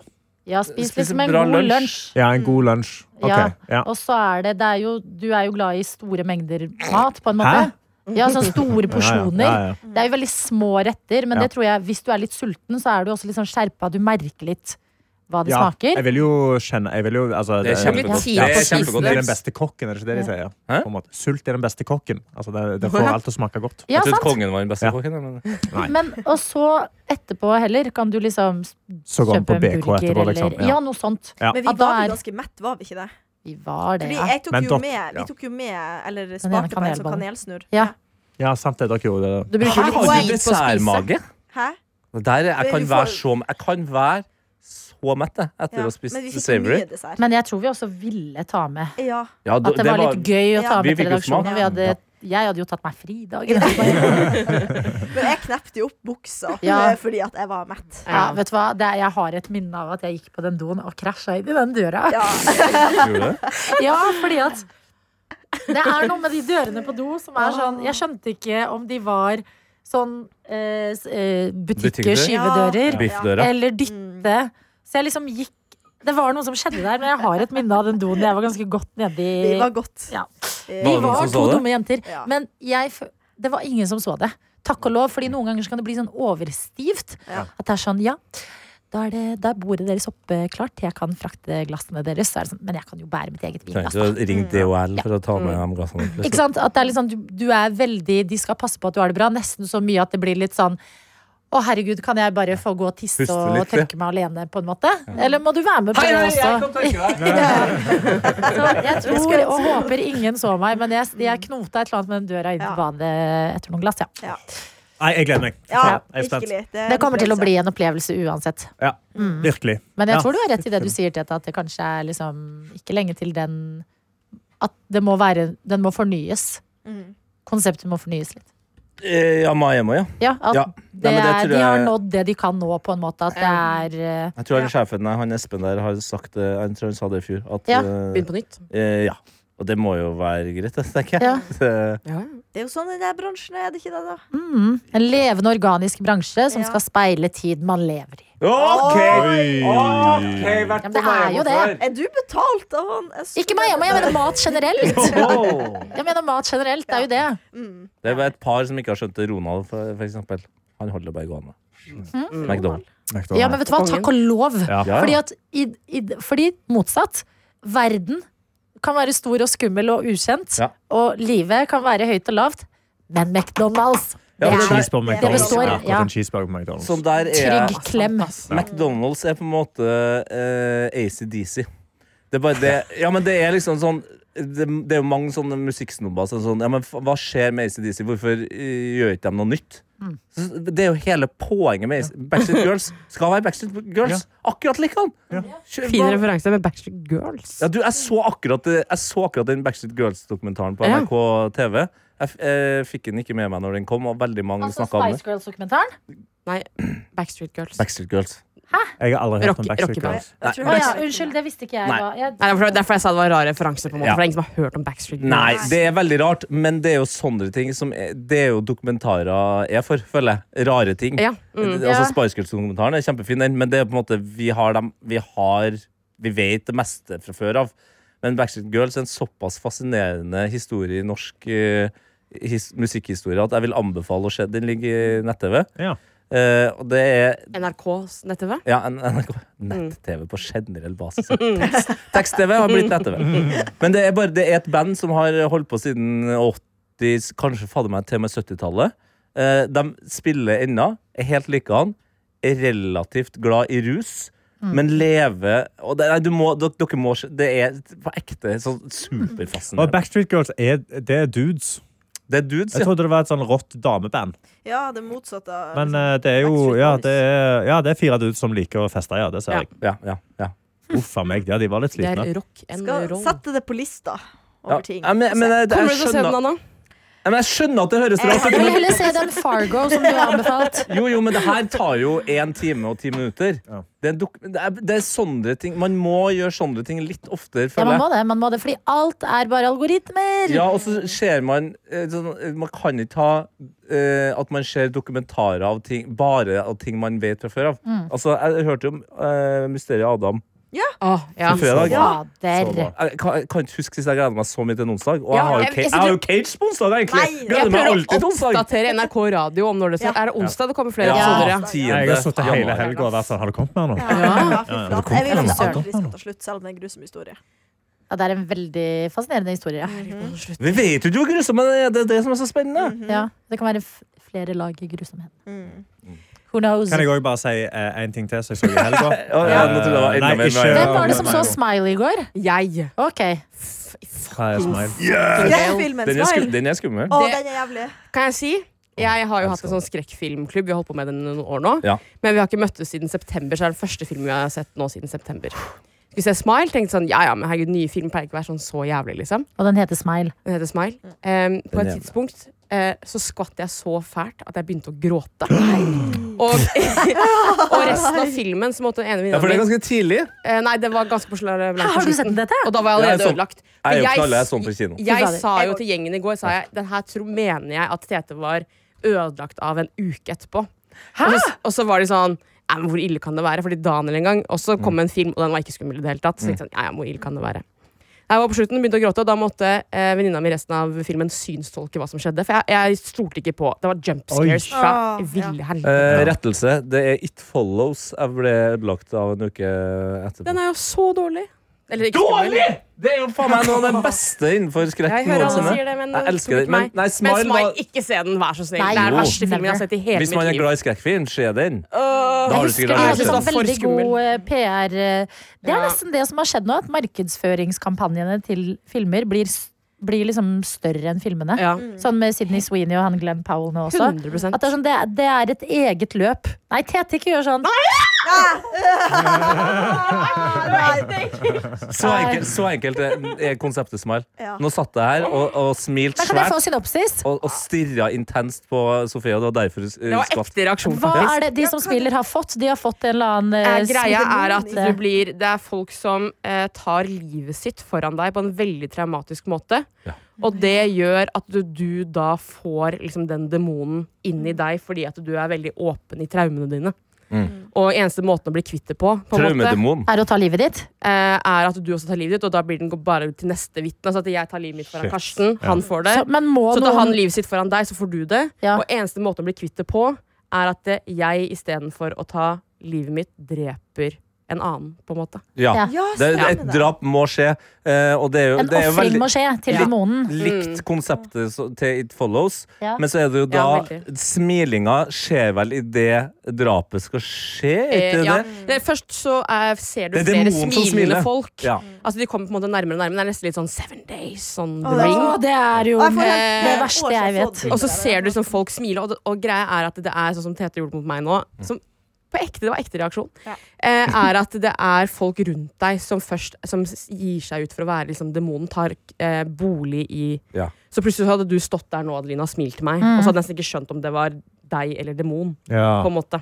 Ja, spis Spis en liksom en bra god lunsj. lunsj. Ja, en god lunsj. Ok, Ja. ja. Og så er det, det er jo, Du er jo glad i store mengder mat, på en måte. Ja, sånn store porsjoner. Ja, ja, ja, Det er jo veldig små retter, men Ja. det tror jeg, hvis du er litt sulten, så er du også litt sånn skjerpa. Du merker litt hva det ja. smaker. Jeg vil jo kjenne jeg vil jo, altså, Det er kjempegodt. Det er Sult er den kjempegodt. beste kokken, er det ikke det de sier? Hæ? På en måte. Sult er den beste kokken. Altså, det, det får Ja. alt til å smake godt. Ja, Jeg trodde sant? kongen var den beste Ja. kokken. Men... Men, og så etterpå heller kan du liksom s- Så går den kjøpe på en BK burger etterpå, liksom. eller ja. Ja. noe sånt. Ja. Men Ja, vi da var er- vel ganske mett, var vi ikke det? Vi var det, Fordi ja. jeg tok Men jo dere- med, ja. vi tok jo med Eller Den ene smakte på en sånn kanelbollen. kanelsnurr. Ja. ja, sant det. Dere gjorde det. Du bruker Jeg jo har litt tid jo på å spise. dessertmage. Hæ? Der, jeg, Men kan du får- være så, jeg kan være så mett jeg, etter Ja. å ha Men vi spist fikk savory. mye dessert. Men jeg tror vi også ville ta med. Ja. Ja, At det, var litt gøy å ta Ja. Vi med til fikk jo smak. redaksjonen. Vi hadde, Ja. jeg hadde jo tatt meg fri i dag. Men jeg knepte jo opp buksa Ja. eh, fordi at jeg var mett. Ja, vet du hva? Det, er- jeg har et minne av at jeg gikk på den doen og krasja inn i den døra. Ja. Gjorde det? Ja, fordi at det er noe med de dørene på do som er sånn Jeg skjønte ikke om de var sånn eh, s- eh, butikker, Butikker? skyvedører, Biffdøra. eller dytte. Så jeg liksom gikk Det var noe som skjedde der, men jeg har et minne av den doen. Jeg var ganske godt Vi nedi var godt. Ja. Eh, Vi Var det noen var som to så det? dumme jenter. Ja. Men jeg, f- det var ingen som så det. Takk og lov, fordi noen ganger så kan det bli sånn overstivt. Ja. At det er sånn, ja, da er, det, da er bordet deres oppklart. Jeg kan frakte glassene deres. Så er det sånn, men jeg kan jo bære mitt eget vinglass. Trenger da. ikke å ringe DHL for å ta med de gassene. Ikke sant? At det er litt sånn, du, du er veldig De skal passe på at du har det bra. Nesten så mye at det blir litt sånn å, herregud, kan jeg bare få gå og tisse Puste og litt, ja. tørke meg alene, på en måte? Eller må du være med på det også? Så jeg tror og håper ingen så meg, men jeg, jeg knota et eller annet med den døra inn til Ja. badet etter noen glass. Ja. Ja. Nei, jeg gleder meg. Ja, Faen, jeg er spent. virkelig. er Eh, Det kommer til å en bli en opplevelse uansett. Ja, virkelig. Men jeg Ja. tror du har rett i det du sier, Tete, at det kanskje er liksom ikke lenge til den At det må være Den må fornyes. Mm. Konseptet må fornyes litt. Eh, Ja, Maemo, ja. Ja, at Ja. Det Nei, men det er, tror de jeg- har nådd det de kan nå, på en måte. At det er eh, Jeg tror han sjefen der, han Espen der, har sagt det, jeg tror han sa det i fjor, at Ja. eh, Begynn på nytt. eh, ja. Og det må jo være greit, det, tenker Ja. jeg. Det- Det er jo sånn i den bransjen, er det ikke det, da? mm, en levende organisk bransje som Ja. skal speile tid man lever i. OK! Oi. Ja, men det er jo det. Er du betalt av han? Jeg så- Ikke meg, jeg mener mat generelt! Wow. Jeg mener mat generelt, det er jo det. Mm. Det var et par som ikke har skjønt det. Ronald, for, for eksempel. Han holder det bare gående. Hm? McDonald. Ja, men vet du hva, takk og lov. Ja. Ja. Fordi, at, i, i, fordi motsatt, verden kan være stor og skummel og ukjent, Ja. og livet kan være høyt og lavt, men McDonald's, det Ja, men det er der- Cheeseburger på Det McDonald's. består, Ja, ja. akkurat en cheeseburger på McDonald's. Som der er trygg klem. McDonald's er på en måte eh, ACDC. Det er bare det Ja, men det er liksom sånn det, det er jo mange sånne musikksnobber som sånn, ja, men fa- Hva skjer med ACDC? Hvorfor eh, gjør ikke de noe nytt? Så Det er jo hele poenget med AC Backstreet Girls. Skal være Backstreet Girls. Akkurat likedan! Fin referanse med Backstreet Girls. Ja, du, jeg så akkurat, jeg så akkurat den Backstreet Girls-dokumentaren på Ja. NRK TV. Jeg, f- eh, fikk den ikke med meg når den kom, og veldig mange Altså snakket om Spice det. Girls-dokumentaren? Nei, Backstreet Girls. Backstreet Girls. Jeg har aldri hørt Rock- om Backstreet rockeband. Girls. Jeg tror Å ja, det er- unnskyld, det visste ikke jeg. Nei. hva- jeg Nei, derfor, derfor jeg sa det var en rar referanse. på en måte Ja. For det er ingen som har hørt om Backstreet Girls. Nei, det er veldig rart, men det er jo sånne ting som er, Det er jo dokumentarer er for, føler jeg. Rare ting. Ja, mm. Altså Ja. Spice Girls-dokumentaren er kjempefin, den, men det er på en måte Vi har dem Vi har Vi vet det meste fra før av. Men Backstreet Girls er en såpass fascinerende historie i norsk eh, his, musikkhistorie at jeg vil anbefale å se. Den ligger i nett-TV. Ja. Eh, og det er NRKs nett-TV. ja, en- NRK Mm. Nett-TV på generell basis. Tekst- Tekst-TV har blitt nett-TV. Men det er, bare, det er et band som har holdt på siden 80, kanskje fader meg til og med 70-tallet. Eh, de spiller ennå, er helt likedan, er relativt glad i rus. Mm. men leve og det, nei, du må, dere, dere må ikke- Det er på ekte sånn Og superfascinerende. Backstreet Girls er, det er dudes. Det er dudes, Jeg ja. trodde det var et sånn rått dameband. Ja, det motsatte av Men liksom. eh, det er jo Backstreet ja Boys. det er, ja, det er fire dudes som liker å feste, ja. Det ser Ja. jeg. ja, ja, ja. Uff a meg. Ja, de var litt Det slitne. er rock and Skal roll. sette det på lista over ja. ting. Ja, men, men, jeg, Kommer jeg, du til å se den, Eh. skjønner, Anna? Ja, men jeg skjønner at det høres rart ut. Jeg vil men- heller se den Fargo som du har anbefalt. Jo, jo, men det her tar jo én time og ti minutter. Ja. Det, er dok det, er, det er sånne ting Man må gjøre sånne ting litt oftere, Ja, føler man jeg. må det, man må det, fordi alt er bare algoritmer. Ja, og så ser man eh, sånn, eh, Man kan ikke ha eh, at man ser dokumentarer av ting bare av ting man vet fra før av. Mm. Altså, jeg hørte jo om eh, mysteriet Adam. Ah, ja. Så fredag. Fader. Så bra. Jeg kan, jeg kan ikke huske sist jeg gleda meg så mye til en onsdag. Og Ja, jeg har jo, jeg- ca- jeg jeg har jo synes cage på onsdag, egentlig! Nei, Jeg gleder meg prøver alltid til å onsdag. oppdatere NRK Radio om når det Ja. Er det onsdag det kommer flere Ja, episoder? Ja. tiende Jeg har sittet hele januar. helga og vært sånn Har du kommet med noe? Ja, ja, fy Ja, ja. flate. Jeg vil Kom, at det kom, aldri skal ta slutt, selv om det er en grusom historie. Ja, det er en veldig fascinerende historie. Ja. Vi vet jo ikke hvor grusomt det er, det er det som er så spennende. Ja, det kan være f flere lag i grusomhet. Mm. Who knows? Kan jeg òg bare si eh, en ting til som jeg så i helga? Ja, ja, nå tror jeg det var enda Eh, mer nei, ikke- vei. Hvem var det som så Smiley i går? Jeg. Ok. Hva er smile? Den filmen, Den er, skum, Smile! den er skummel. Å, Det- den er jævlig. Kan jeg si? Jeg har jo hatt en elsker sånn skrekkfilmklubb. Vi har holdt på med den i noen år nå. Ja. Men vi har ikke møttes siden september, så det er den første filmen vi har sett nå siden september. Skulle se Smile, tenkte sånn ja ja, men herregud, nye film pleier ikke å være sånn så jævlig, liksom. Og den heter Smile. Den heter Smile. Mm. Em, på et Den jævla. tidspunkt eh, så skvatt jeg så fælt at jeg begynte å gråte. Og, og resten av filmen så måtte den ene Ja, for det venninnen er min ganske tidlig. eh, Nei, det var ganske på sl- blank Har på du sett slutten. den dette? Og da var jeg Ja, jeg allerede så- ødelagt. Jeg er jo For knall, jeg er sånn på kino. jeg Fy sa fader. jo til gjengen i går sa jeg, Den her tro, mener jeg at Tete var ødelagt av en uke etterpå. Og så, og så var de sånn «Nei, men Hvor ille kan det være? Fordi Daniel en gang Og så kom Mm. en film, og den var ikke skummel i det hele tatt. Så tenkte jeg sånn, ja, ja, hvor ille kan det være Jeg var på slutten, begynte å gråte, og da måtte eh, venninna mi resten av filmen synstolke hva som skjedde. For jeg, jeg stolte ikke på Det var jump Oi. scares fra Ah, ja. ville helvete. Eh, rettelse. Det er It Follows jeg ble ødelagt av en uke etterpå. Den er jo så dårlig. Eller ikke skummel. Dårlig! Det er jo faen meg noe av det beste innenfor skrekk Jeg hører alle noensinne. sier det, men Jeg elsker det. ikke meg. Men- nei, Smile men smile var- ikke se den, vær så snill. Nei, det er den jo. verste filmen jeg har sett i hele Hvis man er mitt liv. glad i skrekkfilm, se den. Da Jeg har du husker sikkert det aldri hadde sett sånn den. for veldig skummel. god eh, PR. eh, Det er Ja. nesten det som har skjedd nå, at markedsføringskampanjene til filmer blir, s- blir liksom større enn filmene. Ja. Sånn med Sydney Sweeney og han Glenn Powell nå også. 100%. At det, er sånn, det, er- det er et eget løp. Nei, Tete, ikke gjør sånn. Så enkelt, så enkelt er- er konseptet Smile. Ja. Nå satt jeg her og, og smilte Da kan jeg få svært synopsis. og, og stirra intenst på Sofie, og det var derfor hun Det eh, var skvatt. ekte reaksjon, Hva faktisk. er det de som smiler, har fått? De har fått en eller annen eh, Eh, greia er at smilemoni. du blir Det er folk som eh, tar livet sitt foran deg på en veldig traumatisk måte. Ja. Og det gjør at du, du da får liksom, den demonen inni deg fordi at du er veldig åpen i traumene dine. Mm. Og eneste måten å bli kvitt det på, på en måte, Traumedemon. Er å ta livet ditt? eh, er at du også tar livet ditt, og da blir den gå- bare til neste vitne. Så at jeg tar livet mitt foran Shit. Karsten, han får det. Så, men må Så tar han noen livet sitt foran deg, så får du det. Ja. Og eneste måten å bli kvitt det på, er at eh, jeg istedenfor å ta livet mitt, dreper en annen, på en måte. Ja. Ja. Ja, Det, stemmer et drap må skje, eh, og det er jo, En det er jo ofring veldig må skje til Ja. demonen. likt konseptet så- til It Follows. Mm. Ja. Men så er det jo da Ja, veldig. Smilinga skjer vel idet drapet skal skje, er ikke Eh, ja. det? det, først så eh, ser du Det er flere demonen som smilende smiler. folk. Ja. Altså De kommer på en måte nærmere og nærmere. Det er nesten litt sånn Seven Days. Sånn Å, The det er Ring. så Å, det er jo Og jeg får helt- Eh, det er det verste år siden jeg har vet. fått bilder Og så der. ser du sånn folk smile, og, og greia er at det er sånn som Tete gjorde mot meg nå. Mm. Som på ekte, det var ekte reaksjon. Ja. Eh, er at det er folk rundt deg som først som s- gir seg ut for å være liksom, demonen, tar eh, bolig i Ja. Så plutselig så hadde du stått der nå, Adelina, og smilt til meg, og så hadde jeg nesten ikke skjønt om det var deg eller demon. Ja. På en måte.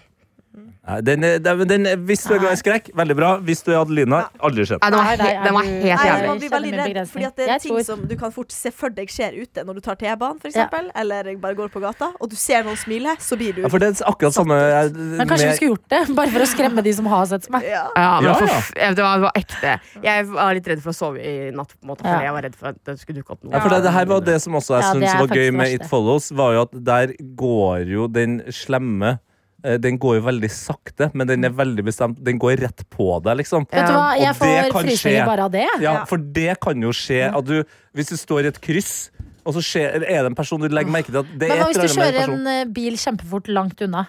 Nei, Den er, den, den er, hvis du er glad i skrekk, veldig bra. Hvis du er Adelina, aldri skjedd. Nei, den var, Nei, nei, he den var er du- helt Nei, jævlig. man blir Kjenner veldig min redd, begrensning. fordi at det er Jeg ting tror- som du kan fort se for deg skjer ute når du tar T-banen, for Ja. eksempel, eller bare går på gata, og du ser noen smile, så blir du Ja, for det er akkurat samme jeg- Men kanskje med- vi skulle gjort det, bare for å skremme de som har sett meg. ja. Ja, men Ja, for ja. f- eh, Det, var, det var ekte. Jeg var litt redd for å sove i natt, på en måte, Ja. fordi jeg var redd for at det skulle dukke opp noe. Ja, for det, det her var det som også jeg Ja, det syntes er var gøy faktisk det med verste. It Follows, var jo at der går jo den slemme eh, Den går jo veldig sakte, men Mm. den er veldig bestemt. Den går rett på deg, liksom. Vet du hva, Og jeg det får kan skje. frysninger bare av det. jeg. Ja, for det kan jo skje at du Hvis du står i et kryss, og så skjer, er det en person du legger merke til at det Men er hva et hvis du eller annet med kjører den personen. en eh, bil kjempefort langt unna?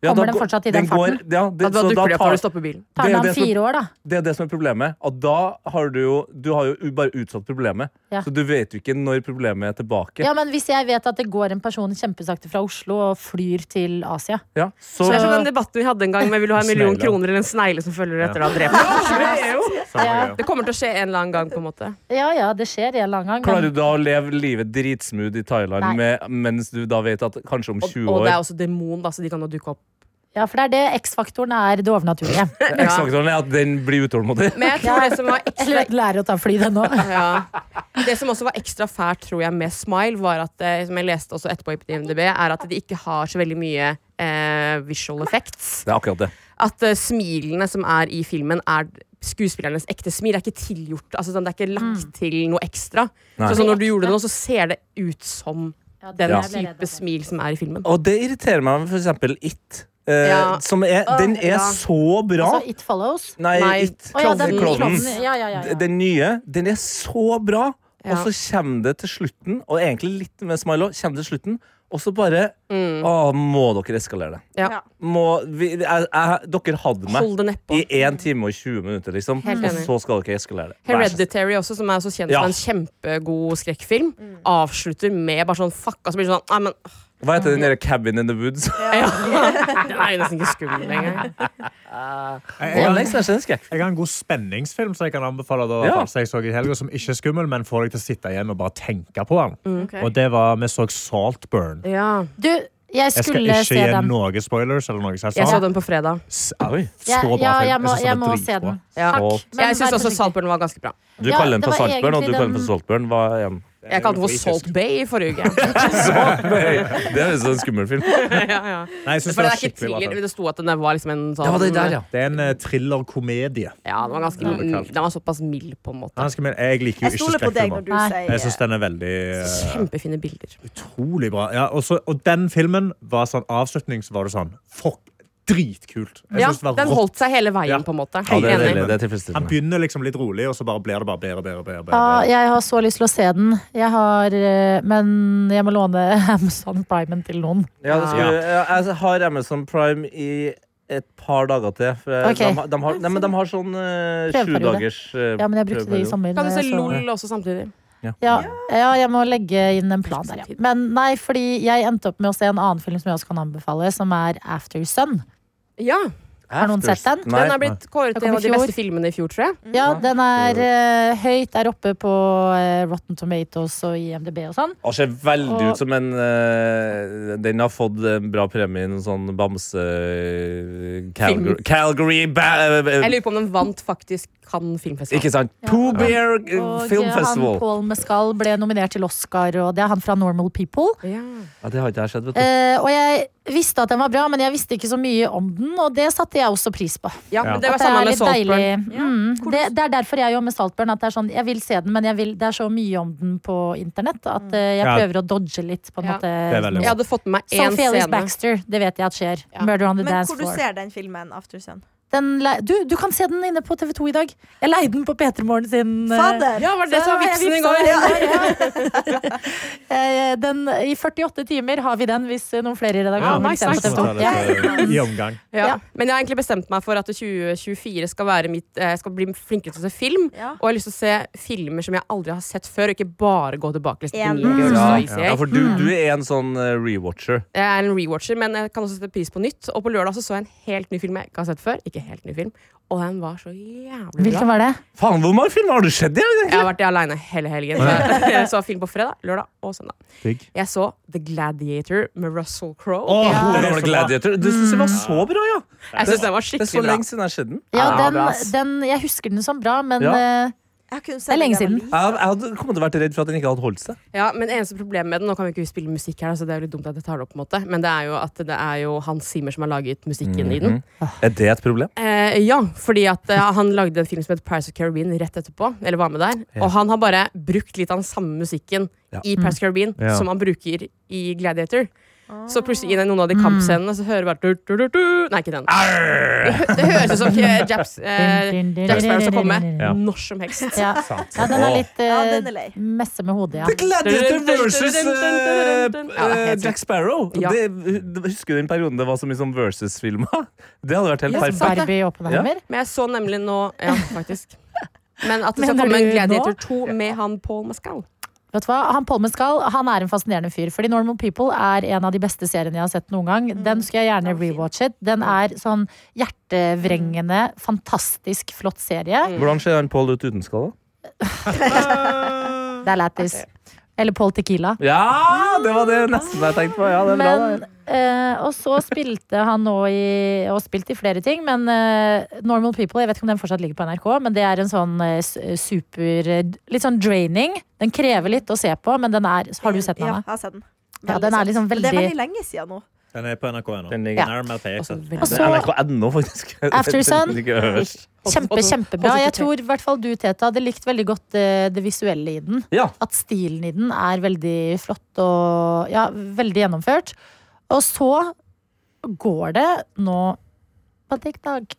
Ja, Kommer da den går- fortsatt i den farten? Går, Da, ja, det, da så da dukker det opp tar, når du stopper bilen. Tar Det er det jo om det som- fire år, da. det er det som er problemet. At da har du jo Du har jo u- bare utsatt problemet. Ja. Så du vet jo ikke når problemet er tilbake. Ja, men Hvis jeg vet at det går en person kjempesakte fra Oslo og flyr til Asia Ja, så, Så det er som den debatten vi hadde en gang med vil du ha en million Snegle. kroner eller en snegle som følger etter deg og dreper deg. Det er jo- Ja. Det kommer til å skje en eller annen gang, på en måte. Ja ja, det skjer en eller annen gang. men- Klarer du da å leve livet dritsmooth i Thailand Nei. med, mens du da vet at kanskje om Og, 20 og det er år også demon, da, så de kan jo dukke opp. Ja, For det er det X-faktoren er det overnaturlige. X-faktoren er sånn, at den blir utålmodig? Men jeg tror det som var ekstra Eller lærer å ta fly, den òg. ja. Det som også var ekstra fælt tror jeg, med Smile, var at, eh, som jeg leste også etterpå i IMDb, er at de ikke har så veldig mye eh, visual effects. Det er akkurat det. At eh, smilene som er i filmen, er skuespillernes ekte smil. Det er ikke tilgjort. Altså, sånn, det er ikke lagt til noe ekstra. Nei. Så, sånn, når du gjorde det nå, så ser det ut som den type smil som er i filmen. Og det irriterer meg med for eksempel It. eh, Ja. Som er, den er ja. så bra. Altså, It Follows. Nei, Nei. It. Å ja, den Klovnen. klovnen. Ja, ja, ja, D- ja. Den nye, den er så bra. Ja. Og så kommer det til slutten, og egentlig litt med Smilo, kommer til slutten, og så bare Mm. Å, må dere eskalere det? Ja. Ja. Må, vi, jeg, jeg, dere hadde meg Hold det nedpå. i 1 time og 20 minutter, liksom. Helt Og enig. så skal dere eskalere det. Vær så snill. Hereditary også, som er så kjent Ja. som en kjempegod skrekkfilm, Mm. avslutter med bare sånn fuck, og så blir det sånn Nei, men åh, Hva heter den der Cabin in the Woods? ja. Den er jo nesten ikke skummel lenger. Det er lengst siden jeg ser skrekk. Jeg har en god spenningsfilm som jeg kan anbefale da, Ja. som jeg så i helga, som ikke er skummel, men får deg til å sitte igjen og bare tenke på den. Mm. Ok. Og det var, Vi så Saltburn. Ja. Du, jeg Jeg skal skulle ikke se gi den. noen spoilers. eller noe sånt. Jeg så den på fredag. S- Oi, Ja, Så bra ja, jeg film. må, synes jeg den må var se dritbra. den. Ja. Takk. Men Jeg vær syns også forsiktig. Saltburn var ganske bra. Du Ja, kaller den det for var Saltburn, og du egentlig kaller den den- for Saltburn. Hva er den? Jeg kalte den for Salt Bay i forrige uke. Det høres ut som en skummel film. ja, ja. Nei, jeg synes det For det, var er ikke skikkelig bra thriller, film. men det sto at den der var liksom en sånn Det er en eh, thriller-komedie. Ja, den var ganske Den var såpass mild, på en måte. Han skal med- Jeg liker jo Jeg ikke stoler på deg skrekkfilmer. når du Nei. sier Jeg syns den er veldig eh, Kjempefine bilder. utrolig bra. Ja, og, så, og den filmen var sånn avslutning, så var det sånn Fuck, dritkult. Jeg Ja, synes det var den rått. holdt seg hele Ja. veien, på en måte. Ja, det er Enig. deilig. Det er Han tilfredsstillende. begynner liksom litt rolig, og så bare blir det bare bedre. bedre, bedre, bedre. Ah, Ja, jeg har så lyst til å se den. Jeg har, eh, men jeg må låne Amazon Primen til noen. Ja, det skulle, ja, jeg har Amazon Prime i et par dager til. For jeg- Ok. de, har- de, har, nei, men de har sånn eh, sju Prøveperiode. dagers eh, Ja, men jeg brukte det i prøveperiode. sommer. Kan du se når jeg så- LOL også samtidig? Ja, ja, jeg må legge inn en plan der, ja. Men nei, fordi jeg endte opp med å se en annen film som jeg også kan anbefale, som er After Sun. Ja. Har noen sett den? Nei. Mm. Den er blitt kåret Den til kom en i av de fjor. beste filmene i fjor, tror jeg. Ja, den er eh, høyt der oppe på eh, Rotten Tomatoes og IMDb og sånn. Han ser veldig Og- ut som en eh, Den har fått en bra premie i noen sånn bamse... eh, Calgary, Calgary ba, eh, Jeg lurer på om den vant faktisk Cannes filmfestival. Ikke sant? Pooh Bear eh, Og Film eh, han Festival. Paul Mescal ble nominert til Oscar, og det er han fra Normal People. Ja. Ja, det har ikke jeg sett, vet du. Eh, og jeg visste at den var bra, men jeg visste ikke så mye om den, og det satte jeg også pris på. ja, men det At var samme med litt Saltburn. deilig. Mm. Det, det er derfor jeg gjør med Saltburn. At det er sånn, jeg vil se den, men jeg vil, det er så mye om den på internett at eh, jeg Ja. prøver å dodge litt. På en Mm. Ja. måte. Det er veldig Jeg hadde fått med meg én Sophie Ellis scene. Baxter, det vet jeg at skjer. Ja. Murder on the Men dance hvor du floor. ser den filmen, After Sun? Den, le- du, du kan se den inne på TV2 i dag. Jeg leide den på P3 Morgen sin eh, Fader! Ja, var det det som var jeg vitsen i vipsa går? den i går, ja. Eh, den, I 48 timer har vi den, hvis eh, noen flere i Ja, redaksjonen vil nice, se den nice. på TV2. Ja. I omgang. Ja. Ja. Men jeg har egentlig bestemt meg for at 2024 skal, være mitt, eh, skal bli flinkere til å se film. Ja. Og jeg har lyst til å se filmer som jeg aldri har sett før, og ikke bare gå tilbake. Liksom, til Enig. Mean Girls Ja, og Easy ja, Eight. for du, hmm. du er en sånn eh, rewatcher. Jeg er en rewatcher, men jeg kan også sette pris på nytt. Og på lørdag så, så jeg en helt ny film jeg ikke har sett før. Ikke helt ny film Og den var så jævlig bra. Hvilken var det? Faen, hvor mange filmer har du sett? i? Jeg har vært aleine hele helgen. Så jeg så film på fredag, lørdag og søndag. Digg. Jeg så The Gladiator med Russell Crowe. Åh, Ja. den gamle Gladiator. Du syns den var så bra, ja? Jeg syns den var Det er så skikkelig bra. lenge siden jeg har sett den. Hmm. Ah. Ja, Ja, den, bra, ass. den, jeg husker den som bra, men Ja. eh, Jeg kunne Det er sett lenge den siden. da jeg var liten. Jeg, jeg hadde kommet til å vært redd for at den ikke hadde holdt seg. Ja, men eneste problemet med den Nå kan vi ikke spille musikk her, så det er jo litt dumt at jeg tar det opp. på en måte Men det er jo at det er jo Hans Zimmer som har laget musikken Mm, i den. Mhm. Er det et problem? Eh, ja, fordi at eh, han lagde en film som het Price of Caribbean rett etterpå. Eller var med der Og han har bare brukt litt av den samme musikken Ja. i Price of Caribbean Ja. som han bruker i Gladiator. Så plutselig i den- noen av de Ah. kampscenene så hører du bare du, du, du, du. Nei, ikke den. Det, hø- det høres ut som eh, Japs, eh, Jack Sparrow skal komme Ja. når som helst. Ja. ja, den er litt Ja, eh, den er lei. messe med hodet, The ja. Gladiator versus eh, Ja, eh, helt Jack Sparrow. Ja. Det, husker du den perioden det var så mye sånn versus-filmer? Det hadde vært helt Ja, så perfekt. Barbie og Oppenheimer. Men jeg så nemlig nå Ja, faktisk. Men at det skal Mener komme en du Gladiator 2 med han Paul Mescal. Vet du hva? Han Polmen skal, han er en fascinerende fyr. Fordi Normal People er en av de beste seriene jeg har sett noen gang. Den skulle jeg gjerne Mm. Den var fin. Mm. rewatchet. Den er sånn hjertevrengende, fantastisk flott serie. Hvordan ser han Paul ut uten skala? Mm. Det er lættis. Eller Paul Tequila. Ja, det var det nesten jeg tenkte på. Ja, det er bra, Men, det. eh, og så spilte han nå i Og spilte i flere ting, men eh, Normal People, jeg vet ikke om den fortsatt ligger på NRK, men det er en sånn eh, s- super eh, Litt sånn draining. Den krever litt å se på, men den er Har du sett den, Ja, Anna? jeg har sett den. Ja, den er søt. liksom Men Det er veldig- veldig lenge siden nå. Den er på NRK ennå. Den ligger Ja. nærmere Også altså. PX. veldig- Og så- NRK.no, faktisk. altså, After Sun. Ligger øverst. Kjempe, kjempebra. Jeg tror i hvert fall du, Teta, hadde likt veldig godt eh, det visuelle i den. Ja. At stilen i den er veldig flott og ja, veldig gjennomført. Og så går det nå på TikTok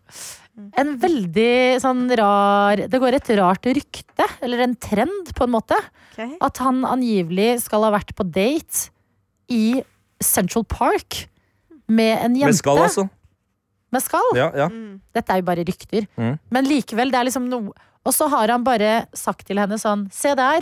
en veldig sånn rar Det går et rart rykte, eller en trend, på en måte, Ok. at han angivelig skal ha vært på date i Central Park med en jente. Med skall, altså. Med skall. Ja, ja. Mm. Dette er jo bare rykter. Mm. Men likevel, det er liksom noe Og så har han bare sagt til henne sånn Se der!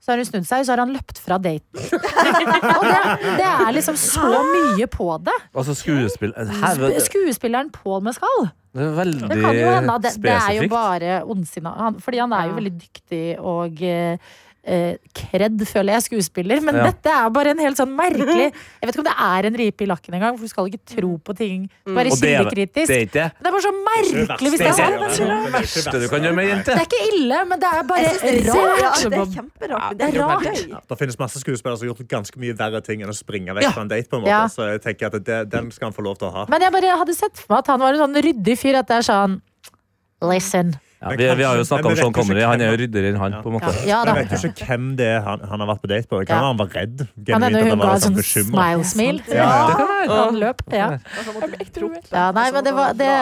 Så har hun snudd seg, og så har han løpt fra daten. og det, det er liksom så mye på det. Altså skuespill Her, Sp- det Skuespilleren Paul Mescal. er veldig Det kan jo hende at det, det er jo spesifikt. bare ondsinna. Han, fordi han er jo Ja. veldig dyktig og eh, eh, Kred, føler jeg, skuespiller. Men Ja. dette er bare en helt sånn merkelig Jeg vet ikke om det er en ripe i lakken engang, for du skal ikke tro på ting. Være Og det er- Det kildekritisk. er ikke det. Det er bare så merkelig hvis det er Det sant. er det verste du kan gjøre med ei jente. Det er ikke ille, men det er Jeg synes det, bare er- ja, rart. det er kjemperart. Men Ja, det er det er rart. Det finnes masse skuespillere som har gjort ganske mye verre ting enn å springe vekk Ja. fra en date. på en måte Ja. Så jeg tenker at det, den skal han få lov til å ha. Men jeg bare hadde sett for meg at han var en sånn ryddig fyr. At det er sånn Listen. Ja, vi, vi har jo snakka om Sean Connery. Han er jo ryddigere enn han. på en måte Ja da. Jeg vet jo ikke hvem det er han, han har vært på date på. Det Kan Ja. være han var redd. Han genuint, ene at hun var ga litt sånn sånn bekymret. smile-smil. Det kan være. Han løp. Ja. Og så måtte du tro ja, nei, men det var det,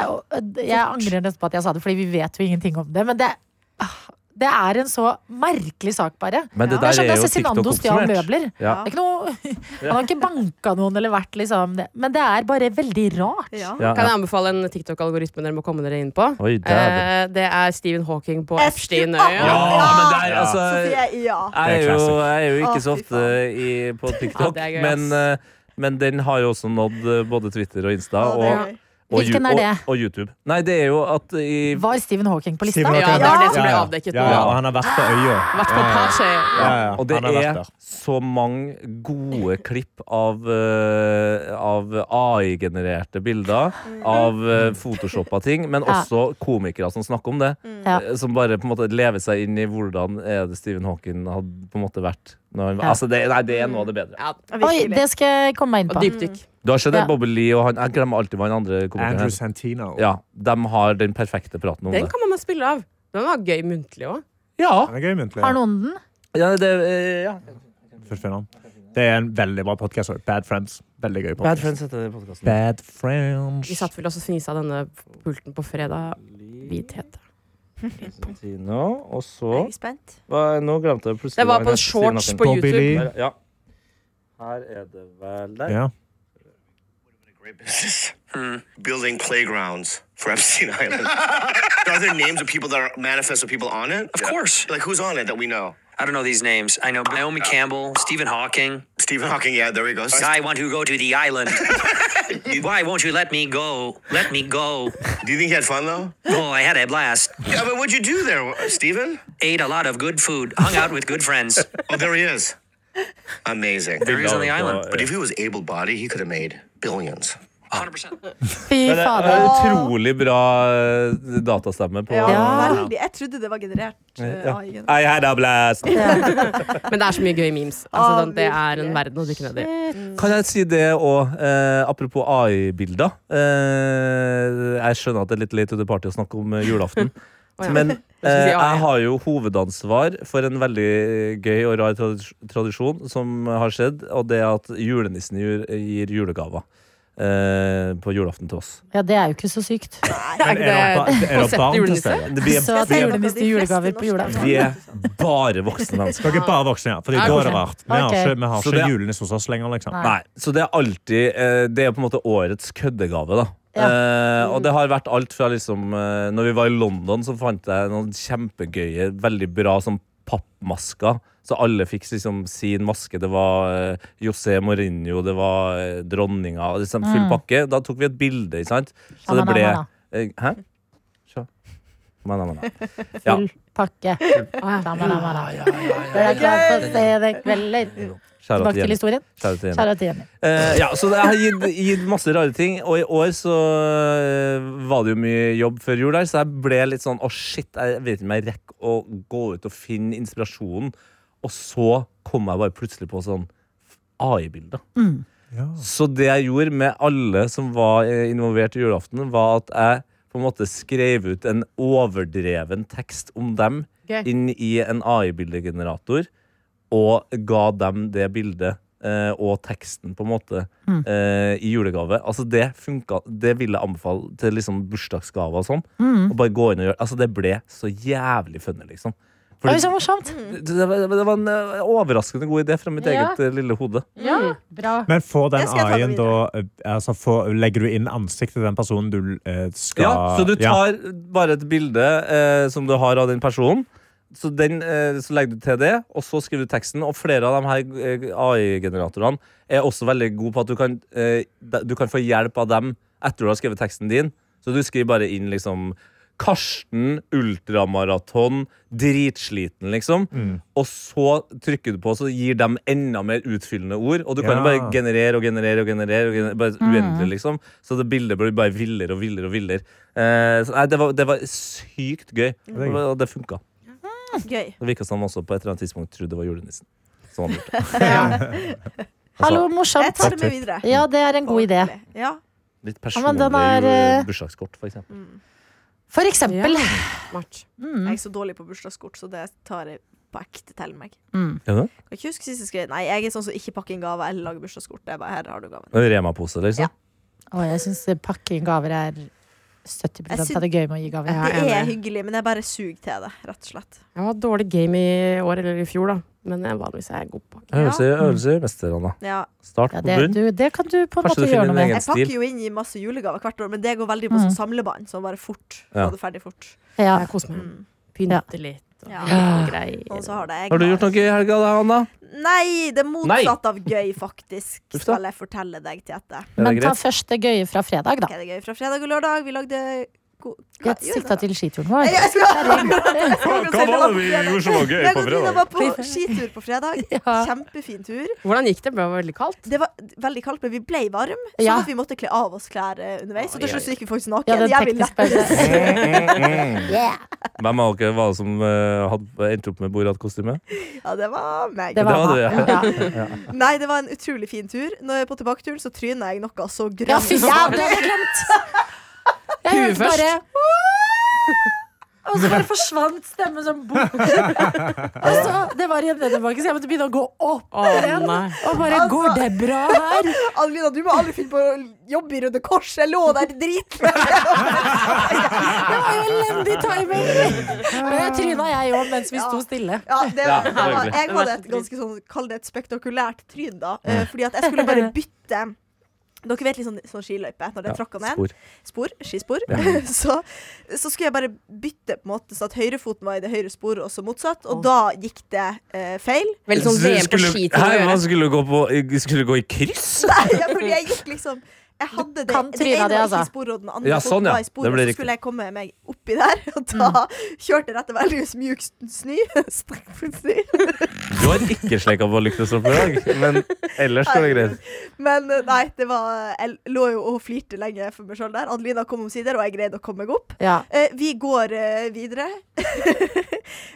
Jeg angrer nesten på at jeg sa det, Fordi vi vet jo ingenting om det. Men det, ah, det er en så merkelig sak, bare. Men Det det er der som er da jo TikTok Cezinando stjal oppsummert. møbler. Ja. Det er ikke noe, han har ikke banka noen eller vært liksom det. Men det er bare veldig rart. Ja. Ja, Kan ja. jeg anbefale en TikTok-algoritme dere må komme dere inn på? Oi, dæven. Eh, det er Stephen Hawking på Ja, Epsteinøya. men der, altså Sofie, ja. Jeg er jo, jeg er jo Å, ikke fy så ofte i, på Ja, TikTok, det er gøy, ass. men, eh, men den har jo også nådd eh, både Twitter og Insta. Ja, det er Og, gøy. og, Hvilken Ju- er det? og, og YouTube. Nei, det er jo at i Var Stephen Hawking på lista? Stephen Ja, Hawking. det er det som ble avdekket ja, nå. ja, og han har vært på øya. Vært på Pasje. Ja, ja, Og det han har vært er der. så mange gode klipp av, eh, av AI-genererte bilder, av uh, photoshoppa ting, men Ja. også komikere som snakker om det. Ja. eh, Som bare på en måte lever seg inn i hvordan er det Stephen Hawking hadde på en måte vært. Når han, Ja. altså det, nei, det er noe av det bedre. Ja, Oi, det skal jeg komme meg inn og på. dypdykk. Du har sett Ja. det, Bobby Lee og han Jeg glemmer alltid hva han andre komikeren Andrew heter. Santino. Ja, de har den perfekte praten om det. Den kan man spille av. Den var gøy muntlig òg. Ja. Han er gøy muntlig. Har noen den? ja, det, eh, ja. Først finner han. Det er en veldig bra podkast. Bad Friends. Veldig gøy Bad podcast. Friends heter den podkasten. Bad Friends. Vi satt vel også og fnisa av denne pulten på fredag. Vi tete. Og så Jeg er spent. hva- Nå glemte jeg plutselig Det var hva på en han het, shorts Steven på Bobby YouTube. Lee. Hawking. Ja. Her er det vel der. Ja. great business. Building playgrounds for Epstein Island. are there names of people that are manifest of people on it? Of course. Like who's on it that we know? Uh, I don't know these names. I know Naomi Campbell, Stephen Hawking, Stephen Hawking. Yeah, there we go. I want to go to the island. Why won't you let me go? Let me go. Do you think he had fun though? Oh, I had a blast. yeah, but what'd you do there, Stephen? Ate a lot of good food, hung out with good friends. Oh, there he is. Amazing. There he is on the island. But if he was able-bodied, he could have made billions. 100%. Fy Det er fader. en utrolig bra eh, datastemme på Ja, Ja. veldig. Jeg trodde det var generert. eh, Ja. AI -gen. I had a blast! Men det er så mye gøye memes. Altså, den- det er en verden å dykke ned i. Kan jeg si det òg, eh, apropos AI-bilder? Eh, jeg skjønner at det er litt late to the party å snakke om eh, julaften. Å, ja. Men skulle si eh, AI. jeg har jo hovedansvar for en veldig gøy og rar tradis- tradisjon som har skjedd, og det er at julenissen gir, gir julegaver eh, på julaften til oss. Ja, det er jo ikke så sykt. Er Men er ikke det ba- det er det konseptet barn til julenisse? stede? Det- Vi Så er, at vi det er, julenisse julegaver på julaften. vi er bare voksne mennesker. Dere er bare voksne, ja. Fordi Ja, da er det ok. rart. Vi har Ok. ikke, vi har Så ikke det- julenisse hos oss lenger, liksom. Nei. Nei, så det er alltid eh, Det er på en måte årets køddegave, da. Eh, Mm. og det har vært alt fra liksom eh, Når vi var i London, så fant jeg noen kjempegøye, veldig bra sånn pappmasker. Så alle fikk liksom sin maske. Det var eh, José Mourinho, det var eh, dronninga. og Liksom, Mm. full pakke. Da tok vi et bilde, ikke sant? Så det Manna, ble manna. eh, Hæ? Sjå. Manna, manna. Ja. Full pakke. Da, da, da, da. Jeg er glad for å se deg kvelder. Kjære Tilbake til til Jenny. historien. Kjære til Jenny. Kjære til Jenny. Eh, ja, så det har gitt, gitt masse rare ting. Og i år så eh, var det jo mye jobb før jul her, så jeg ble litt sånn Å, shit, jeg vet ikke om jeg rekker å gå ut og finne inspirasjonen. Og så kom jeg bare plutselig på sånn AI-bilder. Så det jeg gjorde med alle som var eh, involvert i julaften, var at jeg på en måte skrev ut en overdreven tekst om dem Gøy. inn i en AI-bildegenerator, og ga dem det bildet eh, og teksten på en måte eh, i julegave. Altså Det funka, det vil jeg anbefale til liksom bursdagsgave og sånn. Og bare gå inn og gjøre Altså Det ble så jævlig funny, liksom. Oi, Fordi, så morsomt! det, det, var, det var en eh, overraskende god idé fra mitt Ja. eget eh, lille hode. Ja, bra. Men får den Jeg skal ta det AI-en da eh, altså får, Legger du inn ansiktet til den personen du eh, skal Ja, så du Ja. tar bare et bilde eh, som du har av den personen. Så, den, eh, så legger du til det, og så skriver du teksten. Og flere av de her eh, AI-generatorene er også veldig gode på at du kan, eh, de- du kan få hjelp av dem etter du har skrevet teksten din. Så du skriver bare inn liksom Karsten, ultramaraton, dritsliten, liksom. Mm. Og så trykker du på, så gir dem enda mer utfyllende ord. Og du kan jo Ja. bare generere og generere og generere. Og generere bare uendelig, liksom. Så det bildet blir bare villere og villere og villere. Eh, så, nei, det, var, det var sykt gøy. er gøy. Og det funka. Gøy. Det virka som han også på et eller annet tidspunkt trodde det var julenissen. Så han lurte. Hallo, Altså, Jeg morsomt. tar det med videre. Ja, det er en god idé. Ja. Litt men personlig den er, eh, bursdagskort, for eksempel. For eksempel. Ja. Smart. Mm. Jeg er så dårlig på bursdagskort, så det tar jeg på ekte til meg. Ja, da. Kan ikke huske sist jeg skrev Nei, jeg er sånn som ikke pakker inn gaver eller lager bursdagskort. Det er bare her har du gaven. En Rema-pose, liksom. Å, jeg syns pakking gaver er 70 Jeg syn- av det gøye med å gi gaver. Ja, Det er enig. hyggelig, men jeg bare suger til det, rett og slett. Jeg var dårlig game i år, eller i fjor, da. Men jeg vanligvis er jeg god på Øvelse øvelse gjør mesteren, da. Ja. Start Ja, på det, bunn. du, det kan du på en Kanskje måte du gjøre finner noe en med. egen Jeg pakker stil. jo inn i masse julegaver hvert år, men det går veldig på Mm. sånn samlebånd. Sånn bare fort. Ja. Få det ferdig fort. Ja. Jeg koser meg. Pynter litt og Ja. og greier. Og så har det jeg Har du gjort noe i helga, da, Anna? Nei, det er motsatt av gøy, faktisk. Uff da. Skal jeg fortelle deg, Tete. Er det Men ta greit? først det gøye fra fredag, Ok, da. det er gøy fra fredag og lørdag. Vi lagde ko- Vi Hva- har jo, sikta det var- til skituren vår. Jeg skulle Hva var det vi gjorde som var gøy på Jeg fredag? var på skitur på fredag. Ja. Kjempefin tur. Hvordan gikk det? Ble det veldig kaldt? Det var veldig kaldt, men vi ble varm Sånn Ja. at vi måtte kle av oss klær eh, underveis. Og til slutt så gikk vi faktisk naken. Ja, den Jeg vil tekniske lette- pausen. Mm, Hvem av dere var det som eh, hadde- endte opp med Borat-kostyme? Ja, det var meg. Det var Det var bra. Ja. Nei, det var en utrolig fin tur. Når jeg er på tilbaketuren, så tryna jeg noe så grønt. Ja, fy faen, det hadde jeg glemt! Jeg hørte Huet bare Og så bare forsvant stemmen som bok. Og så, Det var i en nedoverbakke, så jeg måtte begynne å gå opp. Å nei. Og bare Går det bra her? Adelina, du må aldri finne på å jobbe i Røde Kors. Jeg lå der drit. Det var jo elendig timing! Men jeg tryna, jeg òg, mens vi sto stille. Ja, det var, det jeg, var hyggelig. jeg hadde et ganske sånn, kall det et spektakulært tryn, da. Eh, Fordi at jeg skulle bare bytte Dere vet litt sånn, sånn skiløype når den tråkker ned? Spor. spor, skispor, så, så skulle jeg bare bytte på en måte, så at høyrefoten var i det høyre sporet, og så motsatt. Og da gikk det eh, feil. Veldig sånn Skulle- VM på skitur å Hæ, hva gjøre. skulle du gå på? Skulle du gå i kryss? Nei, ja, fordi jeg gikk liksom jeg hadde det, kan det tryna ene di, var altså. ikke i sporet, og den andre Ja, foten sånn, ja. var i sporet. Det ble Så skulle jeg komme meg oppi der, og Mm. da kjørte jeg rett og veldig mjuk snø. Strekt snø. Du har ikke sleika på lyktestolpen i dag, men ellers går det greit. Men eh, nei, det var Jeg lå jo og flirte lenge for Eh, meg sjøl der. Adelina kom omsider, og jeg greide å komme meg opp. Ja. Eh, vi går eh, videre.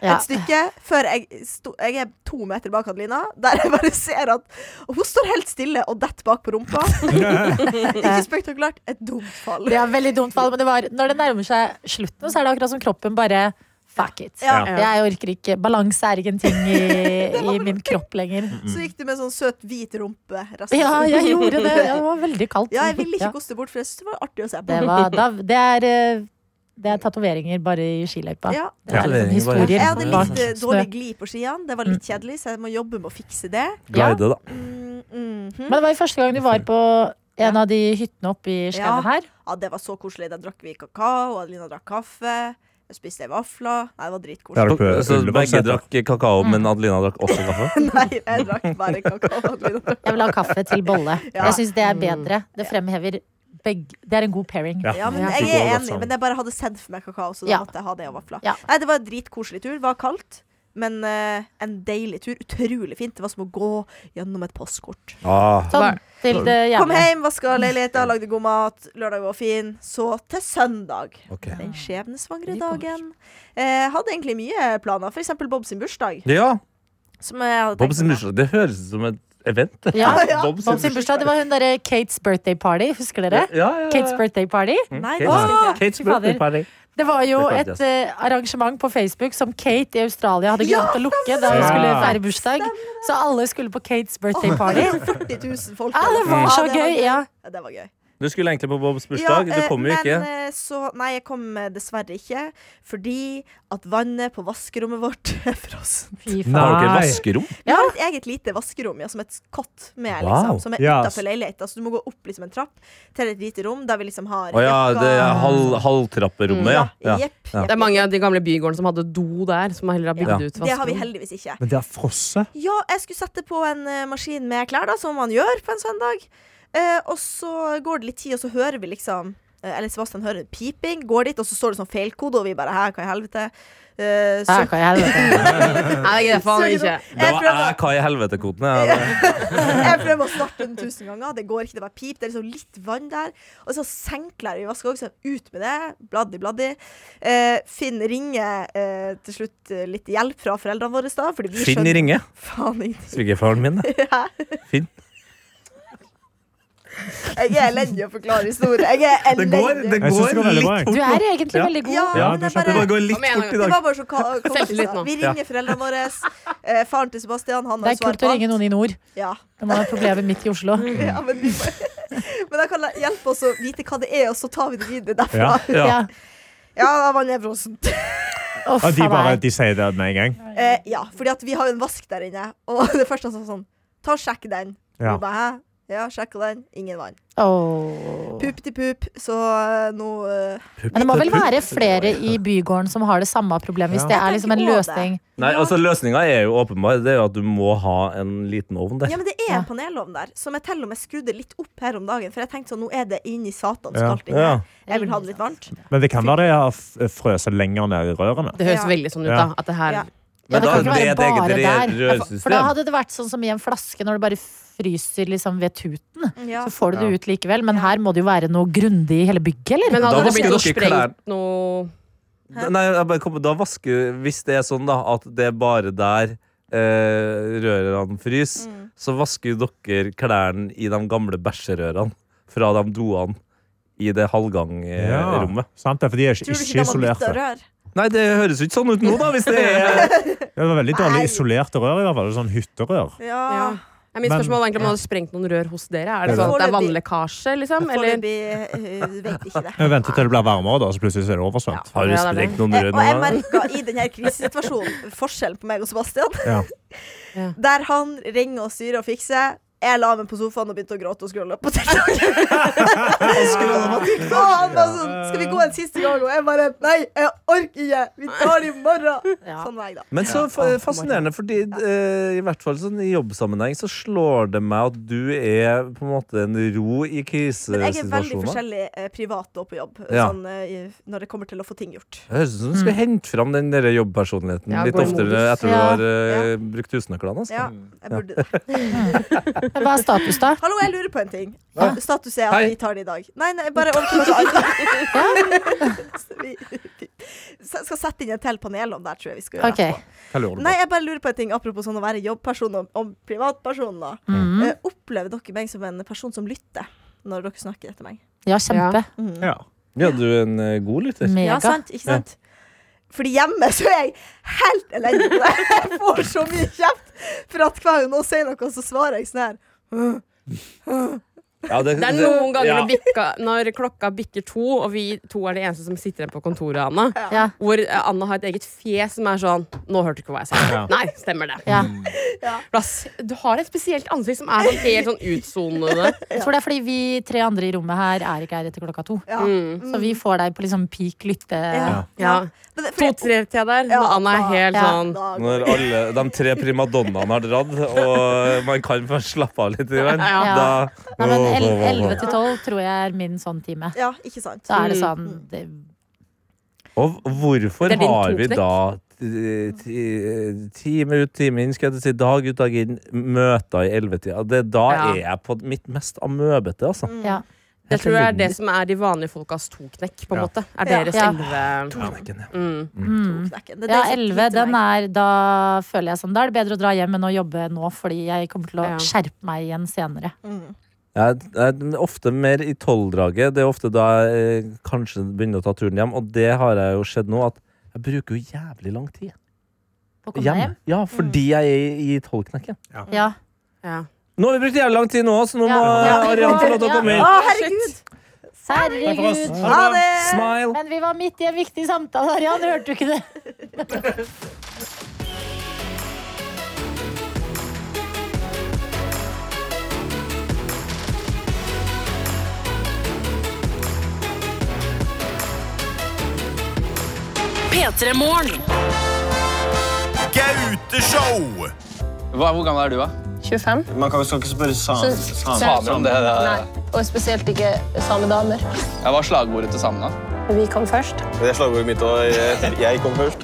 Ja. et stykke før jeg, sto, jeg er to meter bak Adelina, der jeg bare ser at hun står helt stille og detter bak på rumpa. Ikke spektakulært. Et dumt fall. Det er et veldig dumt fall, men det var, når det nærmer seg slutten, så er det akkurat som kroppen bare Fuck it. Ja. Jeg orker ikke. Balanse er ikke en ting i, i min kropp lenger. Så gikk det med sånn søt, hvit rumpe. resten. Ja, jeg gjorde det. Ja, Det var veldig kaldt. Ja, jeg ville ikke Ja. koste bort, for jeg syntes det var artig å se på. det, var, da, det er, eh, det er tatoveringer bare i skiløypa. Ja. Det er liksom Tatoveringer bare i historier. Jeg hadde bak litt eh, snø. dårlig glid på skiene. Det var Mm. litt kjedelig, så jeg må jobbe med å fikse det. Ja. Guide, da. Mm, mhm. Men det var jo første gang du var på en av de hyttene oppe i skauen Ja. her. Ja, det var så koselig. Da drakk vi kakao, og Adelina drakk kaffe. Jeg spiste vafler. Nei, det var Ja, dritkoselig. det- På Så begge Ullevålseter. drakk kakao, Mm. men Adelina drakk også kaffe. Nei, jeg drakk bare kakao. og Adelina drakk- Jeg vil ha kaffe til bolle. Ja. Jeg syns det er bedre. Det fremhever begge Det er en god pairing. Ja. Ja, men Ja. jeg Det går er godt enig, sammen. men jeg bare hadde sett for meg kakao, så da Ja. måtte jeg ha det og vafler. Ja. Nei, det var en dritkoselig tur. Det var kaldt. Men eh, en deilig tur. Utrolig fint. Det var som å gå gjennom et postkort. Ah. Sånn til det Kom jævla. hjem, vaska leiligheter, lagde god mat. Lørdag var fin. Så til søndag. ok. Den skjebnesvangre Vi kommer. dagen. Eh, hadde egentlig mye planer. For eksempel Bob sin bursdag. Ja, Som jeg hadde Bob tenkt sin meg. bursdag. Det høres ut som et event. Ja. Bob Bob sin bursdag, Det var hun derre Kates birthday party, husker dere? Ja, Mm. ja, ja. Kates birthday party. Eh, Nei, det Kates- husker jeg ikke. Kates fy fader. birthday party. Det var jo Det kan et jeg eh, arrangement på Facebook som Kate i Australia hadde glemt å lukke da hun stemmer. skulle Ja. feire bursdag. Så alle skulle på Kates birthday party. Det var 40 000 folk. Ja, det var så gøy, ja. Ja, det var gøy. Du skulle egentlig på Bobs bursdag. Ja, Du eh, kom jo ikke. Men eh, så Nei, jeg kom eh, dessverre ikke. Fordi at vannet på vaskerommet vårt er frossen. Fy faen. Har dere Nei. vaskerom? Vi har et eget lite vaskerom ja, som et skott med, liksom. Wow. Som er Ja, utenfor s- utafor leiligheta. Så du må gå opp liksom en trapp til et lite rom der vi liksom har Å ja, det er jakka. halv, halvtrapperommet, ja. Ja, ja. jepp, jepp, Det er mange av de gamle bygårdene som hadde do der, som heller har bygd Ja. ut Det har vi vaskerom. heldigvis ikke. Men det er frosse. Ja, jeg skulle sette på en eh, maskin med klær, da, som man gjør på en søndag. Eh, og så går det litt tid, og så hører vi liksom eh, Eller Sebastian hører en piping, går dit, og så står det sånn feilkode, og vi bare Hæ, hva i helvete? Eh, så, Ja, hva i helvete. Nei, det er faen Søker ikke. opp. Det Jeg var prøver, jeg, hva i helvete-koden? Ja, det- jeg prøver å starte den tusen ganger. Det går ikke, det bare pip. Det er liksom litt vann der. Og så senklær i vasken også. Ut med det. Bladdi, bladdi. Eh, Finn ringer eh, til slutt eh, litt hjelp fra foreldrene våre, da. Fordi vi Finn skjønner Ringe. faen ingenting. Svigerfaren min. det. Finn. Jeg er elendig å forklare historier. Jeg er elendig. Jeg synes det går veldig bra, jeg. Du er egentlig veldig god. Ja, Ja, men du jeg skjønte bare, Det går Kom igjen, det var bare så ka kaos. Selvtillit nå. Vi ringer foreldrene våre. Eh, faren til Sebastian, han Det har er svar kult å på ringe alt. noen i nord. Ja. Det må være problemet mitt i Oslo. Ja, men, vi bare, men da kan jeg hjelpe oss å vite hva det er, og så tar vi det videre derfra. Ja, Ja. da var han nevrosen. Uff, Ja, de, faen bare, meg. de sier det med en gang. Eh, ja, fordi at vi har jo en vask der inne, og det første han sa sånn Ta og sjekk den. Ja. Og bare, Hæ? Ja, sjekk den. Ingen vann. Åh. Pup til pup, så eh, nå eh, Men det må vel være flere i bygården som har det samme problemet, hvis Ja. det er liksom en Jeg tenker også det. løsning. Nei, altså Løsninga er jo åpenbar. Det er jo at du må ha en liten ovn der. Ja, men det er Ja. en panelovn der, som jeg til og med skrudde litt opp her om dagen. For jeg tenkte sånn, nå er det inn i satans Ja. kaldt inne. Ja. Jeg vil ha det litt varmt. Men det kan være de har f- frøset lenger ned i rørene. Det høres Ja. veldig sånn ut, Ja. da. At det her Ja. Ja, Men det da kan er det ikke være et bare eget der. For da rørsystem. hadde det vært sånn som i en flaske, når du bare fryser liksom ved tuten. Ja. Så får du det ut likevel, men her må det jo være noe grundig i hele bygget, eller? Men Da hadde det blitt vasker noe dere klær. sprengt noe Nei, jeg bare kom, da vasker Hvis det er sånn da at det er bare der eh, rørene fryser, Mm. så vasker jo dere klærne i de gamle bæsjerørene fra de doene i det Ja, halvgangrommet. eh, sant det, for de er ikke, Tror du ikke ikke det var nytt isolerte. av rør? Nei, det høres jo ikke sånn ut nå, da, hvis det er Det var veldig dårlig Nei. isolerte rør, i hvert fall. Sånn hytterør. Ja. ja. Nei, Mitt Men- spørsmål var egentlig om man hadde sprengt noen rør hos dere. Er det Ja. sånn at det er Foreløpig- vannlekkasje, liksom? Eller Foreløpig eh, vet ikke det. Jeg venter til det blir varmere, da, så plutselig så er det oversvømt. Har du Ja, det er det. sprengt noen Eh, rør Og jeg nå? da? merka i denne krisesituasjonen forskjellen på meg og Sebastian. Ja. Ja. Der han ringer og styrer og fikser. Jeg la meg på sofaen og begynte å gråte og scrolle på TikTok. Og han var sånn Skal vi gå en siste gang? Og jeg bare Nei, jeg orker ikke! Vi tar det i morgen! Ja. Sånn var jeg, da. Men så fa- fascinerende, fordi eh, i hvert fall sånn i jobbsammenheng så slår det meg at du er på en måte en ro Men jeg er i veldig krisesituasjoner. forskjellig eh, privat og på jobb Ja. sånn, eh, i- når det kommer til å få ting gjort. Det høres ut som du skulle hente fram den der jobbpersonligheten Mm. Ja, litt gå i modus. oftere etter du Ja. Sånn. har eh, brukt husnøklene. Altså. Ja, jeg burde det. Men hva er status, da? Hallo, jeg lurer på en ting. Hva? Status er at Hei. vi tar det i dag. Nei, nei, bare over til noe annet. Så vi, vi skal sette inn en til panel om det her, tror jeg vi skal gjøre. Ok. etterpå. Nei, jeg bare lurer på en ting apropos sånn å være jobbperson og, og privatperson. Da. Eh, opplever dere meg som en person som lytter når dere snakker etter meg? Ja, kjempe. Ja. Ja, du er en eh, god lytter. Ja, Mega. sant? Ikke sant? Fordi hjemme så er jeg helt elendig på det. Jeg får så mye kjeft for at hver gang noen sier noe, så svarer jeg sånn her. Ja, Det er noen ganger ja. når, bikka, når klokka bikker to, og vi to er de eneste som sitter igjen på kontoret, Anna. Ja. Hvor eh, Anna har et eget fjes som er sånn Nå hørte du ikke hva jeg sa. Nei, stemmer det. Mm. Ja. Plass. Du har et spesielt ansikt som er sånn helt sånn utsonende. Jeg tror det er fordi vi tre andre i rommet her er ikke her etter klokka to. Ja. Så vi får deg på liksom peak lytte... Ja. Ja. Men det- fordi- To-tre til der, Ja, når Anna er da- helt ja. sånn Da går Når alle de tre primadonnaene har dratt, og man kan få slappe av litt, grann, Ja. da Nei, men el- Åh, åh, åh, 11 åh. til 12 tror jeg er min sånn time. Ja, ikke sant. Så er det sånn det, Og hvorfor Det er din har vi toknekk. da ti- ti- time ut, time inn, skal jeg til å si, dag ut, dag inn, møter i 11-tida? Det- Da Ja. Mm. er jeg på mitt mest amøbete, altså. ja. Det tror jeg er det som er de vanlige folkas toknekk, på en Ja. måte. Er Ja. deres Ja. elleve Toknekken, ja. mm. knekken. Det er ja, det som 11, lite den meg. er Da føler jeg sånn Da er det bedre å dra hjem enn å jobbe nå, fordi jeg kommer til å Ja. skjerpe meg igjen senere. Jeg jeg er ofte mer i tolvdraget. Det er ofte da jeg eh, kanskje begynner å ta turen hjem, og det har jeg jo sett nå, at jeg bruker jo jævlig lang tid Å Mm. komme hjem. hjem? Ja, fordi jeg er i tolvknekken. Ja. ja. Nå har vi brukt jævlig lang tid nå, så nå må Ja. eh, Arian få lov til å Ja. Å, komme inn. herregud! Herregud. Ha det! Smile! Men vi var midt i en viktig samtale, Arian. Hørte du ikke det? Gauteshow! hvor gammel er du, da? 25. Man kan jo skal ikke spørre sam- Samer om det. Nei. Og spesielt ikke samedamer. Jeg var slagordet til samene. Vi kom først. Det er slagordet mitt, og jeg, jeg kom først.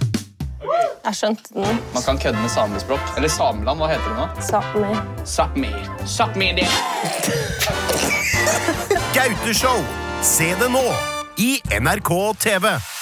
Jeg skjønte den. Man kan kødde med samespråk. Eller Sameland, hva heter det nå? Sami. Sápmi. Sápmi det. Gauteshow. Se det nå i NRK TV.